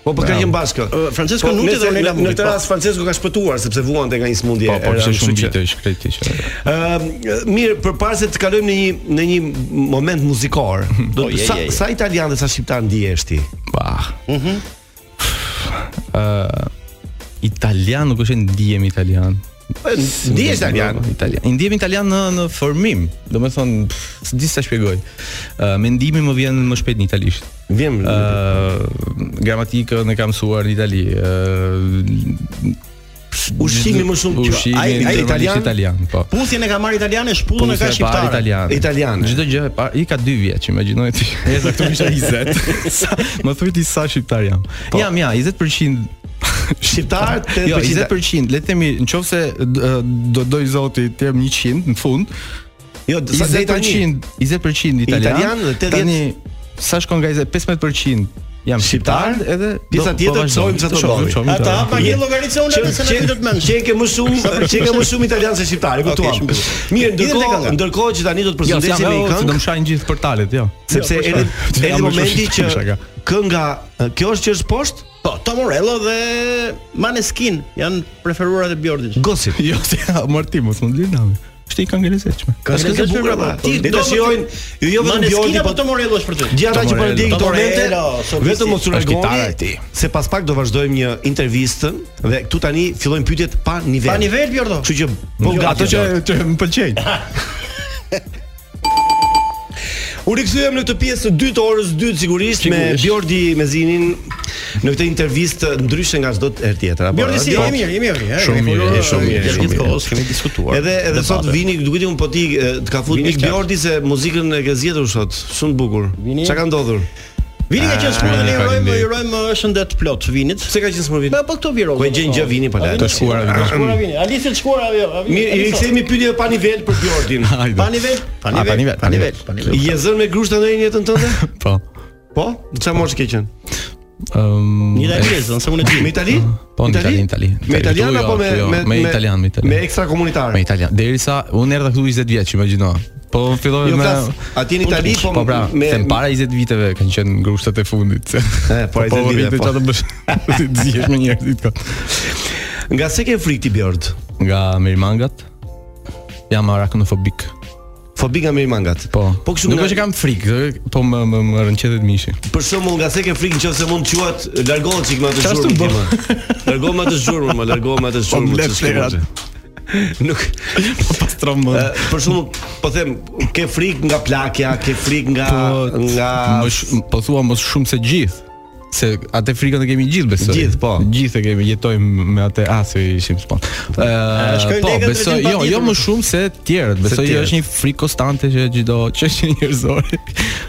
Po po ka
Bravo.
qenë bashkë.
Ë, Francesco
Po,
Nuti
nëse
dhe Ornella
në-
Muti,
Në këtë
po.
rast Francesco ka shpëtuar sepse vuante nga një smundje.
Po, po,
e
kishte
rëndë,
shumë
kështu që-
vite që krejti që.
Ë, mirë, përpara se të kalojmë në një në një moment muzikor, do
Po, je,
të sa,
je, je.
sa italian dhe sa shqiptar ndihesh ti?
Bah.
Mhm.
Ë italian nuk është ndihem italian.
ndihesh italian.
Italian. Ndihem italian në në formim. Domethënë, pff, s'di sa shpjegoj. Ë mendimi më vjen më shpejt në italisht.
Vjen
ë gramatikën e kam mësuar në Itali. ë
Ushqimi më shumë-
ushqimi
Ai- ai
normalisht
italian?
italian, po.
Puthjen e ka marrë italiane,
Po
shpullën e ka shqiptare.
italian. Italian. Çdo gjë e parë i ka 2 vjet, imagjinoj ti. E saktë kisha 20. Sa- Më thuj ti sa shqiptar jam.
Po.
Jam ja, 20%
Shqiptar,
Jo,
8%.
20%, le të themi, nëse do doj zoti të jem 100 në fund.
Jo, sa deri tani?
20%, 20% italian.
Italian dhe 80
Tani sa shkon nga 20, 15% jam shqiptar edhe
pjesa
do- po
tjetër
vazhdoj.
çojmë çfarë
Shohim,
do bëjmë.
shohim, do-
një llogaritse unë
Që-
edhe se na
që-
vitet mend.
Që ke më shumë,
Sa përqind?
që ke më shumë italian se shqiptar, e kuptuam.
Okej, shumë mirë.
Mirë,
Idem tek
ndërkohë,
kënga.
ndërkohë që tani do të
Jo,
përshëndesim
s'jam
me
e
një
ot, do
këngë,
më shajnë gjithë portalet, jo.
sepse
Jo,
erdhi
po shajnë.
erdhi
Jam më
momenti
shumë
që
shaka.
kënga, kjo është që është poshtë?
Po, Tom Morello dhe Maneskin janë preferuarat e Bjordit.
Gossip.
Jo, se ja, marti mos mund lirë nami. Është i kanë lezetshme.
Ka
Është këngë e bukur apo? Le ta shijojnë ju jo vetëm Bjordi,
po
po
Tom Morello është për ty.
Gjithë ata që po ndjejnë këto momente,
momente,
vetëm mos u largoni. Se pas pak do vazhdojmë një intervistë dhe këtu tani fillojnë pyetjet pa nivel.
Pa nivel, Bjordo.
Kështu që po gati.
Jo, ato që që më pëlqejnë.
U rikthyem në këtë pjesë të dytë të orës dytë sigurisht me
Sigurisht.
Bjordi Mezinin në këtë intervistë ndryshe nga çdo herë tjetër apo.
Bjordi si
Po.
je mirë, je mirë, je.
Shumë mirë, je shumë mirë,
Gjatë
shumë
gjithë
mirë.
kohës kemi diskutuar.
Edhe edhe sot vini, duket un po ti e, të ka futur
Vini
Mik
qartë.
Bjordi se muzikën e ke zgjedhur sot. Shumë bukur.
Vini-
Çka ka ndodhur? Ah,
Vini ka qenë smurë dhe ne i urojmë, i
Faleminderit.
urojmë uh, shëndet plot vinit.
Pse ka qenë smurë vini?
Po këto viroza.
Po e gjen gjë vini po la.
Të shkuara
Ka
vini.
shkuara vini. Alisi të shkuara jo. a vini,
Mirë, i
Alisa.
rikthehemi pyetjeve pa nivel për Bjordin.
Hajde.
Pa nivel, pa
A, pa nivel,
nivel, pa nivel, pa nivel.
Je zënë me grushta ndonjë në jetën tënde?
Po.
Po? Çfarë mosh ke qenë?
Ëm
Një itali zon, se unë e di.
Me Itali?
Po, në Itali, në Itali.
Me italian
Këtu jo,
apo me
këtu jo, me italian, me italian.
Me ekstra komunitar.
Me Po, italian. Derisa unë erdha këtu 20 vjeç, imagjino. Po filloi
Jo
me
flas, atje në Itali po
po pra,
me
me para 20 viteve kanë qenë grushtat e fundit.
E, para 20 viteve, po.
çfarë të bësh? Ti zihesh me njerëzit kot.
nga se ke frikë ti Bjord?
Nga Merimangat. Jam arachnofobik.
Fobi nga me mangat.
Po.
Po kështu
Nuk
nga-
është që kam frikë, ë, po më më, më rënqetet mishi.
Për shembull, nga se ke frikë nëse mund të quhet largohet çik me atë
Çfarë
zhurmë.
s'u bë?
ti, ma. Largo me atë zhurmë, ma largo me atë zhurmë.
mbledh
që s'ke
flerat.
mundse. Nuk
Po pastrom më.
Ë, për shembull, po them, ke frikë nga plakja, ke frikë nga
Po,
nga
Më sh, po thua mos shumë se gjithë. Se atë frikën e kemi gjithë besoj.
Gjithë, po.
Gjithë e kemi, jetojmë me atë a se ishim spon. Ë,
shkojnë
po,
lekët
besoj,
drejtim
jo,
patjetër.
jo më shumë se të tjerët. Besoj jo,
tjerët.
është një frikë konstante që çdo çështje njerëzore.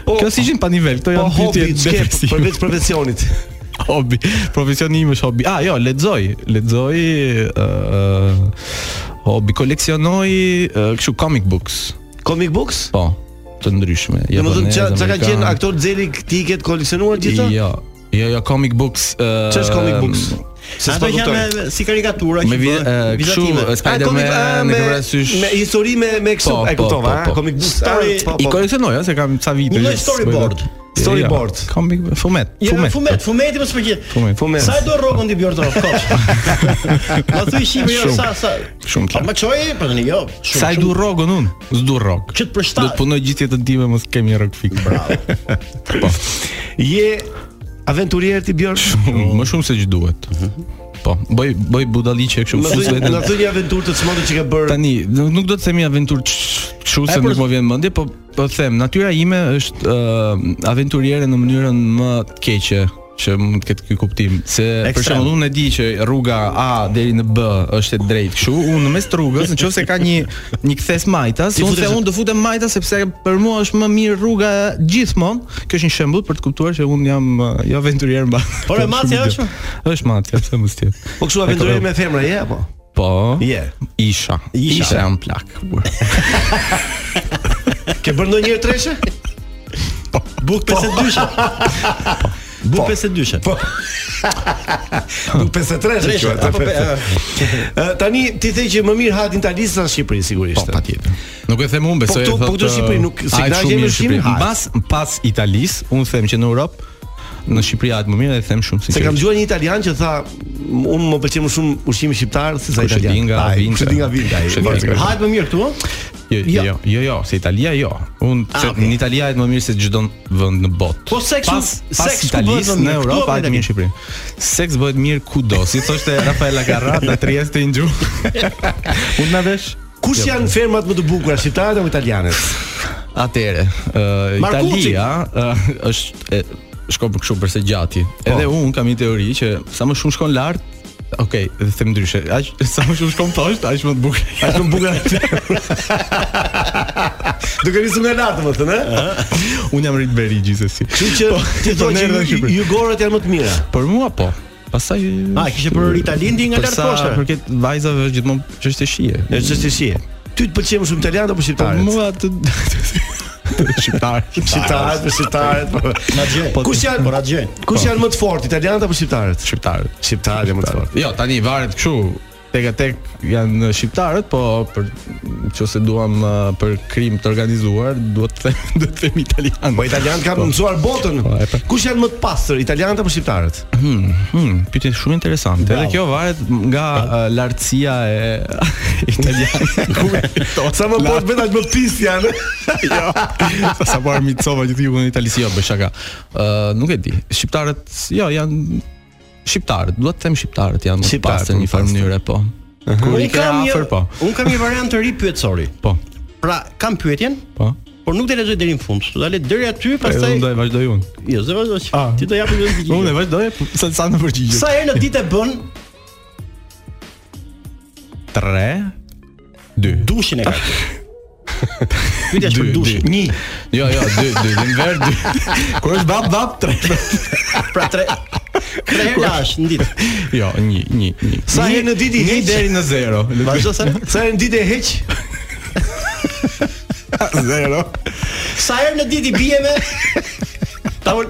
Po,
Kjo si ishin pa nivel, këto
po
janë
hobi
pyetje
çke
depresive.
përveç profesionit.
Hobi, profesioni im është hobi. Ah, jo, lexoj, lexoj ë hobi koleksionoj ë, kështu comic books.
Comic books?
Po, të ndryshme.
Domethënë
japonez,
çka çka kanë qenë
amerikan.
aktor Xeli ti i ke të koleksionuar gjithë?
Jo, jo, jo comic books. ë,
Ç'është comic books? Se s'po
Ato
kuptoj.
janë si karikatura
Pra
Me
që
vi-
bëhen,
ë, kështu,
vizatime.
A,
ë,
comic- a,
Spider-Man,
me
me vrasysh.
me histori me me kështu,
Po,
e
po,
kuptova,
po,
a?
po.
comic book
Story-
a, po,
I
po.
koleksionoj, ëh, se kam ca vite.
Një lloj
që
storyboard.
s'po e-
Storyboard.
Jo, Comic fumet.
Ja,
Fumet.
fumet, fumeti mos përgjigj.
Fumet.
Fumet.
Sa do rrokon ti Bjordo, koç. Ma thuj shihim jo
Shumë.
sa sa.
Shumë
Po
qartë.
më çoj, po tani jo. Shumë.
Sa i
shumë.
du rrogën unë? S'du rrog.
Që të përshtat.
Do të po- punoj gjithë jetën time mos kem një rrog fik. Bravo.
Je aventurier ti Bjorn?
Më shumë se që duhet.
Mhm.
Po, bëj bëj budalliqe kështu.
Më
fus
thuj,
vetën.
na thuj një aventurë të çmendur që ke bërë.
Tani, nuk nuk do të themi aventur kështu se
E, por-
nuk më vjen mendje, po po them, natyra ime është ë aventuriere në mënyrën më të keqe që mund të ketë ky kuptim se për
Ekstrem.
shembull unë e di që rruga A deri në B është e drejtë kështu unë në mes të rrugës nëse ka një një kthes majtas
Ti
unë
futesh-
the unë do futem majtas sepse për mua është më mirë rruga gjithmonë kjo është një shembull për të kuptuar që unë jam uh, jo aventurier mba
Por e
Shumë
macja
idiot.
është?
është macja pse mos tjetë
Po kështu aventurier me femra je apo?
po
Je.
isha
Isha.
isha jam plak burr.
Ke bërë ndonjëherë treshe?
Po.
Buk 52-she. Buk 52-she.
Po. Nuk 53
Treshe, apo pe-
Ë, Tani ti the që më mirë hatin Italis sa në Shqipëri sigurisht. Po
patjetër. Nuk e them unë,
Po
besoj
këtu-
e
po
thotë.
këtu në Shqipëri nuk-
"A,
signal
e shumë
jemi
mirë
në Shqipëri, hajt."
Mbas pas Italisë, unë them që në Europë në Shqipëri atë më mirë dhe them shumë
Se kam
sinqerisht.
dëgjuar një italian që tha unë më pëlqen më shumë ushqimi shqiptar se sa
Kush e
italian.
di nga
Ai,
vinte.
kush e di nga vinte. ai.
Kush e di nga vinte.
Hajt më mirë këtu, ëh?
Jo, jo, jo, jo, se Italia jo. Unë
Ah,
se në Itali është më mirë se çdo vend në botë.
Po seksu-
pas, pas
seksu
Italisë
bëhet më
në
mirë, këtu apo
Europë
në
atë mirë në Shqipëri. Seks bëhet mirë kudo, si thoshte Rafaela Carrata Trieste in Gju. Unë na vesh.
Kush
Jo,
janë fermat më të bukura, shqiptarët apo italianët?
Atëre, ë
Markucci.
Italia ë, është e, shkon për kështu përse gjati.
Po.
Edhe unë kam një teori që sa më shumë shkon lart, Okej, okay, them ndryshe. Aq sa më shumë shkon poshtë, aq më të bukur.
Aq më bukur. Duke nisur nga lartë, më thënë, ëh?
Unë jam rrit beri gjithsesi.
Kështu që ti
eh? po
thua që
nerdhen në
ju-
Shqipëri. Ah,
jugorët janë më të mira.
Për mua po. Pastaj
A, kishe për Italinë di nga
Për
lartë
sa
poshtë.
Përket vajzave është gjithmonë çështje shije.
Është çështje shije. Ty të pëlqen më shumë italianët apo shqiptarët?
Po mua të shqiptarët.
Shqiptarët, po shqiptarët. po.
Na gjej.
Kush janë?
Po na gjej.
Kush janë më të fortë, italianët apo shqiptarët?
Shqiptarët.
Shqiptarët janë më të fortë.
Jo, tani varet kështu. Tek a tek janë shqiptarët, po për nëse duam uh, për krim të organizuar, duhet të them, duhet të them italian.
Po italianët kanë
Po.
mësuar botën.
Po, e pra.
Kush janë më të pastër, italianët apo shqiptarët?
Hmm, hmm, pyetje shumë interesante. Edhe kjo varet nga uh, lartësia e italianëve.
Sa më poshtë bëhet aq më pis janë.
jo. Sa po armicova që ti në Itali si jo bëj shaka. Ë nuk e di. Shqiptarët jo janë shqiptarët. Duhet të them shqiptarët janë më të
Shqiptarët
pastër
më
në një
të
farë
pastër.
mënyrë po. Kur i
Unë
ke
kam një
afër po.
Unë kam një variant të ri pyetësori.
Po.
Pra, kam pyetjen,
Po.
por nuk do lexoj deri në fund. Do ta le deri aty,
Pastaj
pastaj
unë do e vazhdoj unë.
Jo, s'do vazhdoj.
Ah.
Ti do japim vetëm
Unë
përgjigje.
e vazhdoj sa sa në përgjigje.
Sa herë në ditë e bën
3 2
dushin e kartë? Pyetja është për
Dy,
dushin.
dy.
Një.
Jo, jo, 2 2 në ver 2. Kur është bab bab 3.
Pra tre tre herë lash në ditë.
Jo, 1 1 1.
Sa herë në ditë i
Një
heq?
deri në 0.
Vazhdo sa
Sa herë në ditë e heq?
0.
sa herë në ditë i bie me tavol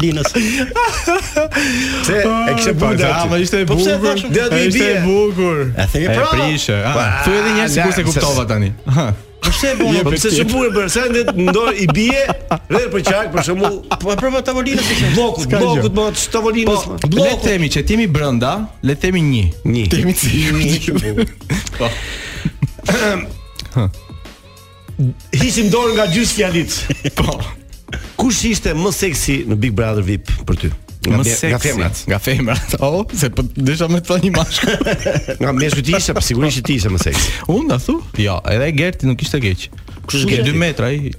Linës.
Se e kishe
Po,
bërë.
ama ishte e
Po pse e
bukur.
thashun?
Dhe aty i
Ishte
bie.
e bukur.
E themi pra.
prishë.
Pa,
Thu edhe një herë sikur se
larm,
kuptova tani. Ha.
Pse e bën?
Po pse s'u bën bërë? Sa ndet ndor i bie, rreth për qark, për shembull,
Po e prova tavolinën se
bllokut,
S'ka gjë.
bllokut më të
Po,
tavolinës. më.
le të themi që timi brenda, le të themi 1.
Një.
Timi sigurt. Po.
Hiqim dorë nga gjysmë fjalit.
Po.
Kush ishte më seksi në Big Brother VIP për ty? Nga
Më
me-
seksi.
Nga femrat.
Nga femrat. Oh, se po desha me të thoni mashkull.
Nga meshku ti ishe, po sigurisht që ti ishe më seksi.
Unë da thu? Jo, edhe Gerti nuk ishte keq.
Kush është
Ke
Gerti?
2 metra ai.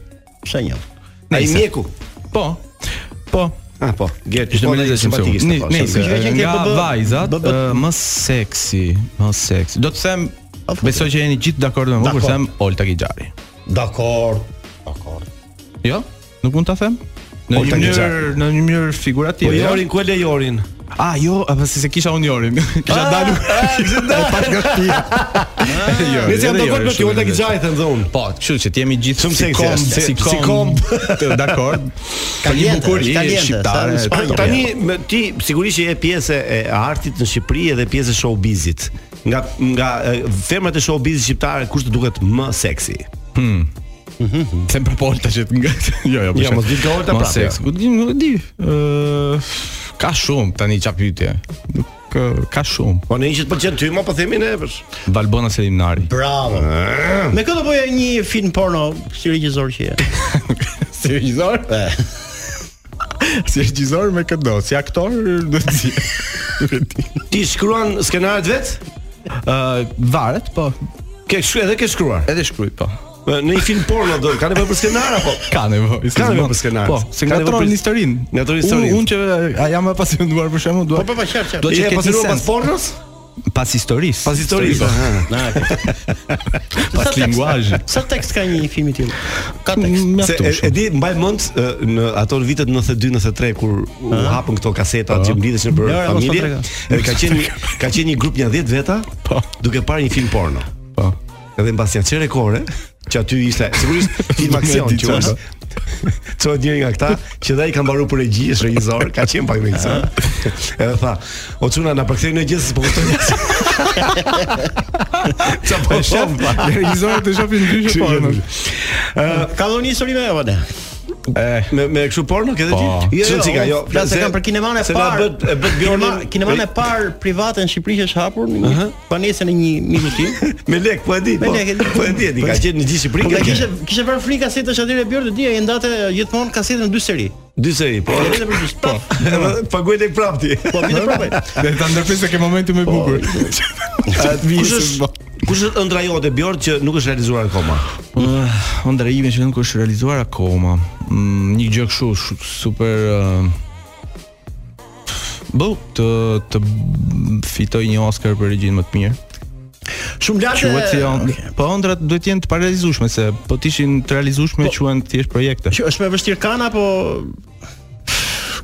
shenjë.
Ai
Nice.
mjeku.
Po. Po.
Ah po, Gerti
Ishte
po,
më
ai
lezetshëm se
simpatik
unë.
ishte, po,
Nice,
shumë.
Ishte që ke
nga
BB,
vajzat
BB.
ë, më seksi, më seksi. Do të them
po.
futi.
Besoj që jeni gjithë dakord me mua kur
Dakord.
them Olta Gixhari.
Dakor. Dakor.
Jo? Nuk mund ta them? Në një
Olta
mënyrë,
Gixhari.
në një mënyrë
Po
figurative. jo?
Jorin, ku e le Jorin?
Ah, jo, apo se se kisha unë Jorin.
Ah,
Kisha dalur. Kisha dalur nga shtëpia. Jo,
Nëse jam dakord
edhe Jori
me ty,
shumë
Olta
i
Gixhari them dhe unë.
Po, kështu që t'jemi gjithë
Shumë
si
seksi
kom,
është,
si
si- si
kom,
kom.
të dakord. Ka një
Kaliente,
bukuri
është kaliente,
shqiptare.
sa në Spanjë.
po,
Tani me ti sigurisht që je pjesë e e artit në Shqipëri edhe pjesë e showbizit. Nga nga e, femrat e showbizit shqiptare kush të duket më seksi?
Them për Polta që të nga. Jo, jo, për
Jo,
shkak.
mos ditë ka Olta
Mos
prapë,
seks. Ku di, nuk e di. Ë, ka shumë tani çfarë pyetje. Nuk ë, ka shumë.
Po në një që të pëlqen ty, ma po themi ne vesh.
Valbona Selimnari.
Bravo. Me këtë bëja një film porno si regjisor që je.
Si regjisor? Si regjisor me këdo, si aktor do të si. Nuk e di.
Ti shkruan skenaret vet?
Ë, varet, po.
Ke shkruar edhe ke shkruar.
Edhe shkruaj po.
Në një film porno do ka nevojë për skenar apo?
Ka nevojë.
Ka nevojë për skenar.
Po, se nga tron historinë.
Nga tron historinë.
Unë që a jam më pasionuar për shembull, dua.
Po po po qartë qartë.
Do
Do që
të
ketë
ketë
një
pas
sens.
pornos?
Pas historisë.
Pas historisë.
Po.
aha.
Pas linguazhit.
Sa tekst ka një film i tillë? Ka tekst.
Se e, e di mbaj mend e, në ato vitet 92 93 kur u hapën këto kaseta që mblidheshin për
Lora, mos
familje.
po
Edhe ka qenë ka qenë një grup një 10 veta, duke parë një film porno.
Po.
Edhe mbas një çere kore, që aty ishte sigurisht film aksion
Nuk e di
që
çfarë.
është. Çohet njëri nga këta që dha i ka mbaruar për regji, është regjisor, ka qenë pak me këtë. Edhe tha, "O çuna na përkthej në gjë se po kuptoj." Ça po shoh?
Regjizorët e shohin ndryshe porno.
Ka dhënë një histori me apo ne?
Me me kështu porno ke dhe ti?
Po.
Jo, jo, jo.
Flasë kanë për kineman e
se na
parë.
bët- e bët Bjornin-
Kinema- Kineman e parë private në Shqipëri që është hapur në një banesën e një miku tim.
Me lek, po e di.
Me
po.
lek e di.
Po e di, e di, ka qenë në gjithë
Po
Shqipërinë.
ka kishte kishte vënë frikë kasetësh aty e Bjorn të dia, e ndate gjithmonë kasetën në dy seri.
dy seri, po.
Po vetëm për dy. Po.
Edhe Paguaj lek prapë ti.
Po vjen prapë.
Dhe ta ndërpresë ke momentin më i bukur.
Kush është kush është ëndra jote Bjorn që nuk është realizuar akoma?
Uh, Ondra ime që nuk është realizuar akoma. Mm, një gjë kështu sh- super uh, Bo, të të fitoj një Oscar për regjinë më të mirë.
Shumë lart.
Quhet
jo.
si on, po ondrat duhet të jenë të parealizueshme se po të ishin të realizueshme quhen thjesht projekte.
Që është më vështirë kana apo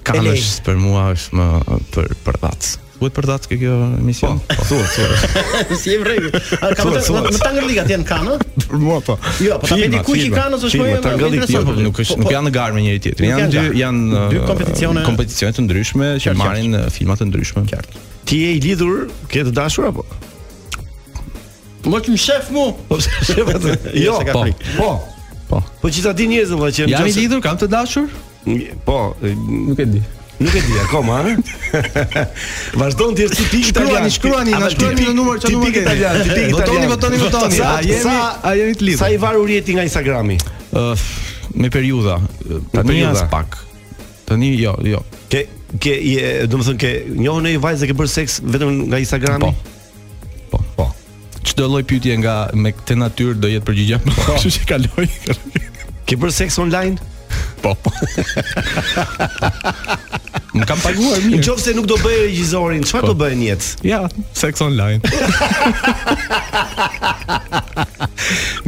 Kanë
Elej.
është për mua është më për për dhac. Duhet për dhac kjo emision? Po, thuhet, thuhet.
si e vrej? A ka
Thuhet,
jo.
thuhet.
më tangërllikat janë kana?
Për mua po.
Jo, po ta bëj dikush i kanës është më më
Jo, po,
interesant.
nuk është nuk janë në garë me njëri tjetrin.
Nuk
Janë
janë
dy
garë.
janë
Dy
uh,
kompeticione-
kompeticione të ndryshme që
Qartë,
marrin uh, filma të ndryshme. Qartë.
Ti je i lidhur, ke të dashur apo?
Mo kim shef mu.
Po pse shef atë?
Jo,
Jo,
se ka
po.
frikë.
Po.
Po.
Po që ta di njerëzit vëlla që
Jam i
nëse-
lidhur, kam të dashur?
Po, e,
Nuk e di.
Nuk e di akoma, ëh. Vazhdon ti si pikë italian.
Shkruani, shkruani, na shkruani në numër çfarë
Tipik
numër keni.
italian, tipik italian.
Votoni, votoni, votoni.
Sa-
A jemi
sa-
a jemi të lidhur?
Sa i varur jeti nga Instagrami?
Ëh, me periudha. Ë, Tani
periudha.
as pak. Tani jo, jo.
Ke ke je, do të thonë ke njohën një vajzë që ke bërë seks vetëm nga Instagrami?
Po. Po. Çdo lloj pyetje nga me këtë natyrë do jetë përgjigje. Kështu që kaloj.
Ke bërë seks online?
Po. Më kam
Në
paguar
Jo.
mirë.
qoftë se nuk do bëj regjizorin, çfarë do bëj në jetë?
Ja, seks online.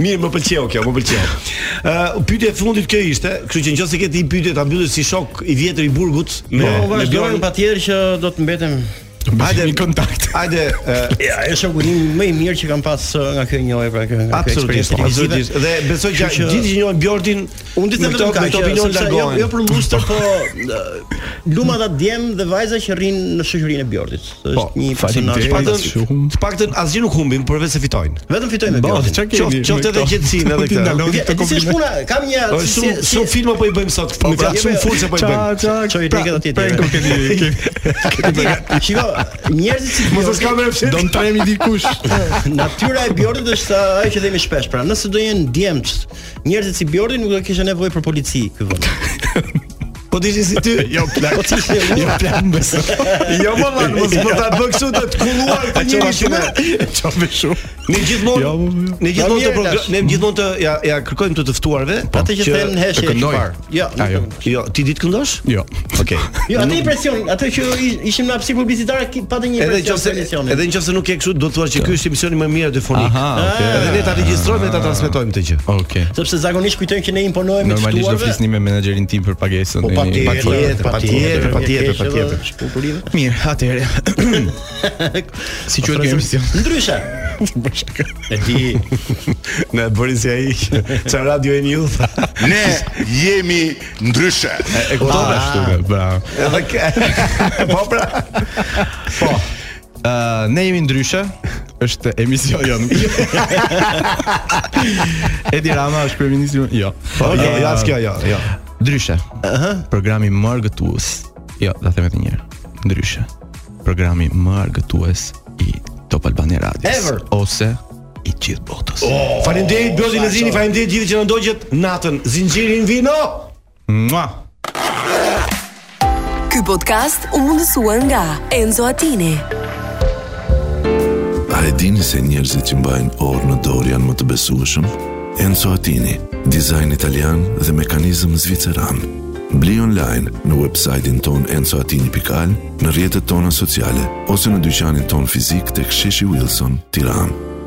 Mirë, më pëlqeu kjo, më pëlqeu. Ë, pyetja e fundit kjo ishte, kështu që nëse ke ti pyetje ta mbyllësh si shok i vjetër i burgut me
Po
me
vazhdojmë
Bjorn.
patjetër që do të mbetem
Hajde
Një kontakt.
Hajde, ë,
ja, e shokunim më i mirë që kam pas uh, nga kjo njohje pra kjo nga kjo
absolutisht,
eksperiencë televizive.
absolutisht. Dhe besoj që
Kështu që-
gjithë që njohin Bjordin,
Unë di
me
them
këto-
vetëm
me
kaq,
këto opinion
sepse jo,
largohen.
jo për lustër, po ë, luma ata djem dhe vajza që rrin në shoqërinë e Bjordit. Është
Po,
një personazh
Të
patën.
paktën, të paktën asgjë nuk humbin, përveç se fitojnë.
Vetëm fitoj me
Bo,
Bjordin.
çka keni?
Qof- qoftë
me
edhe
këto?
qetësinë edhe
Ti
këtë.
ndaloni
Vje-
këtë Po,
Si është
kompliment.
puna? Kam një
Ë,
si-
Shumë
si-
shumë filma po i bëjmë sot. Më
pra,
ka shumë
jemi-
fulse po i bëjmë.
Çoj
pra,
tek atje.
Prenko keni keni.
Shiko, njerëzit si
Mos është kamerë fshet.
Do të tremi dikush.
Natyra e Bjordit është ajo që themi shpesh. Pra, nëse do jenë djemtë, njerëzit si Bjordi nuk do kishte nevojë për polici Po, ky vend.
Po ti si ty?
Jo plak. Jo plak besoj.
Jo më vallë, mos po ta bëj kështu të të kulluar këtë njëri që ne.
Çfarë shumë?
Ne gjithmonë
Jo, jo.
ne gjithmonë të
mirë,
progr-
tash.
ne gjithmonë të ja ja kërkojmë të të ftuarve
Atë që them heshje
Po, të
e
këndoj.
çfarë. Jo,
A, jo.
Jo, ti ditë këndosh?
Jo.
Okej.
Jo, atë impresion, atë që i- ishim në hapësirë publicitare ki- patë një
Edhe
impresion
nëse
se emisionin.
edhe nëse nuk ke kështu, do të thua që ky është emisioni më i mirë radiofonik.
Aha, okay.
Edhe ne ta regjistrojmë dhe ta transmetojmë këtë gjë.
Okej.
sepse zakonisht kujtojmë që ne imponohemi
Normalisht do flisni me menaxherin tim për pagesën.
Po
e një-
patjetër, patjetër, patjetër, patjetër. Kulturime.
Mirë, atëherë. si quhet kjo emision?
Ndryshe. E di.
Na e bëri si ai. Ça radio e news.
Ne jemi ndryshe.
E kuptova ashtu, bravo.
Edhe ke- Po pra.
Po. Ë, ne jemi ndryshe. Është emision jo. nuk- Edi Rama është kryeministri. Jo.
Po, jo,
Ë,
ja as kjo, jo, jo.
Ndryshe. Ëh. Programi më argëtues. Jo, ta them edhe një herë. Ndryshe. Programi më argëtues i Top Albania Radios
Ever. Oh.
ose i gjithë botës.
Faleminderit Bjodi Lezini, faleminderit gjithë që na ndoqët natën. Zinxhirin vino.
Mua.
Ky podcast u mundësua nga Enzo Attini.
A e dini se njerëzit që mbajnë orë në dorë janë më të besueshëm? Enzo Atini, dizajn italian dhe mekanizëm zviceran. Bli online në websajtin ton enzoatini.al, në rjetët tona sociale, ose në dyqanin ton fizik të ksheshi Wilson, tiranë.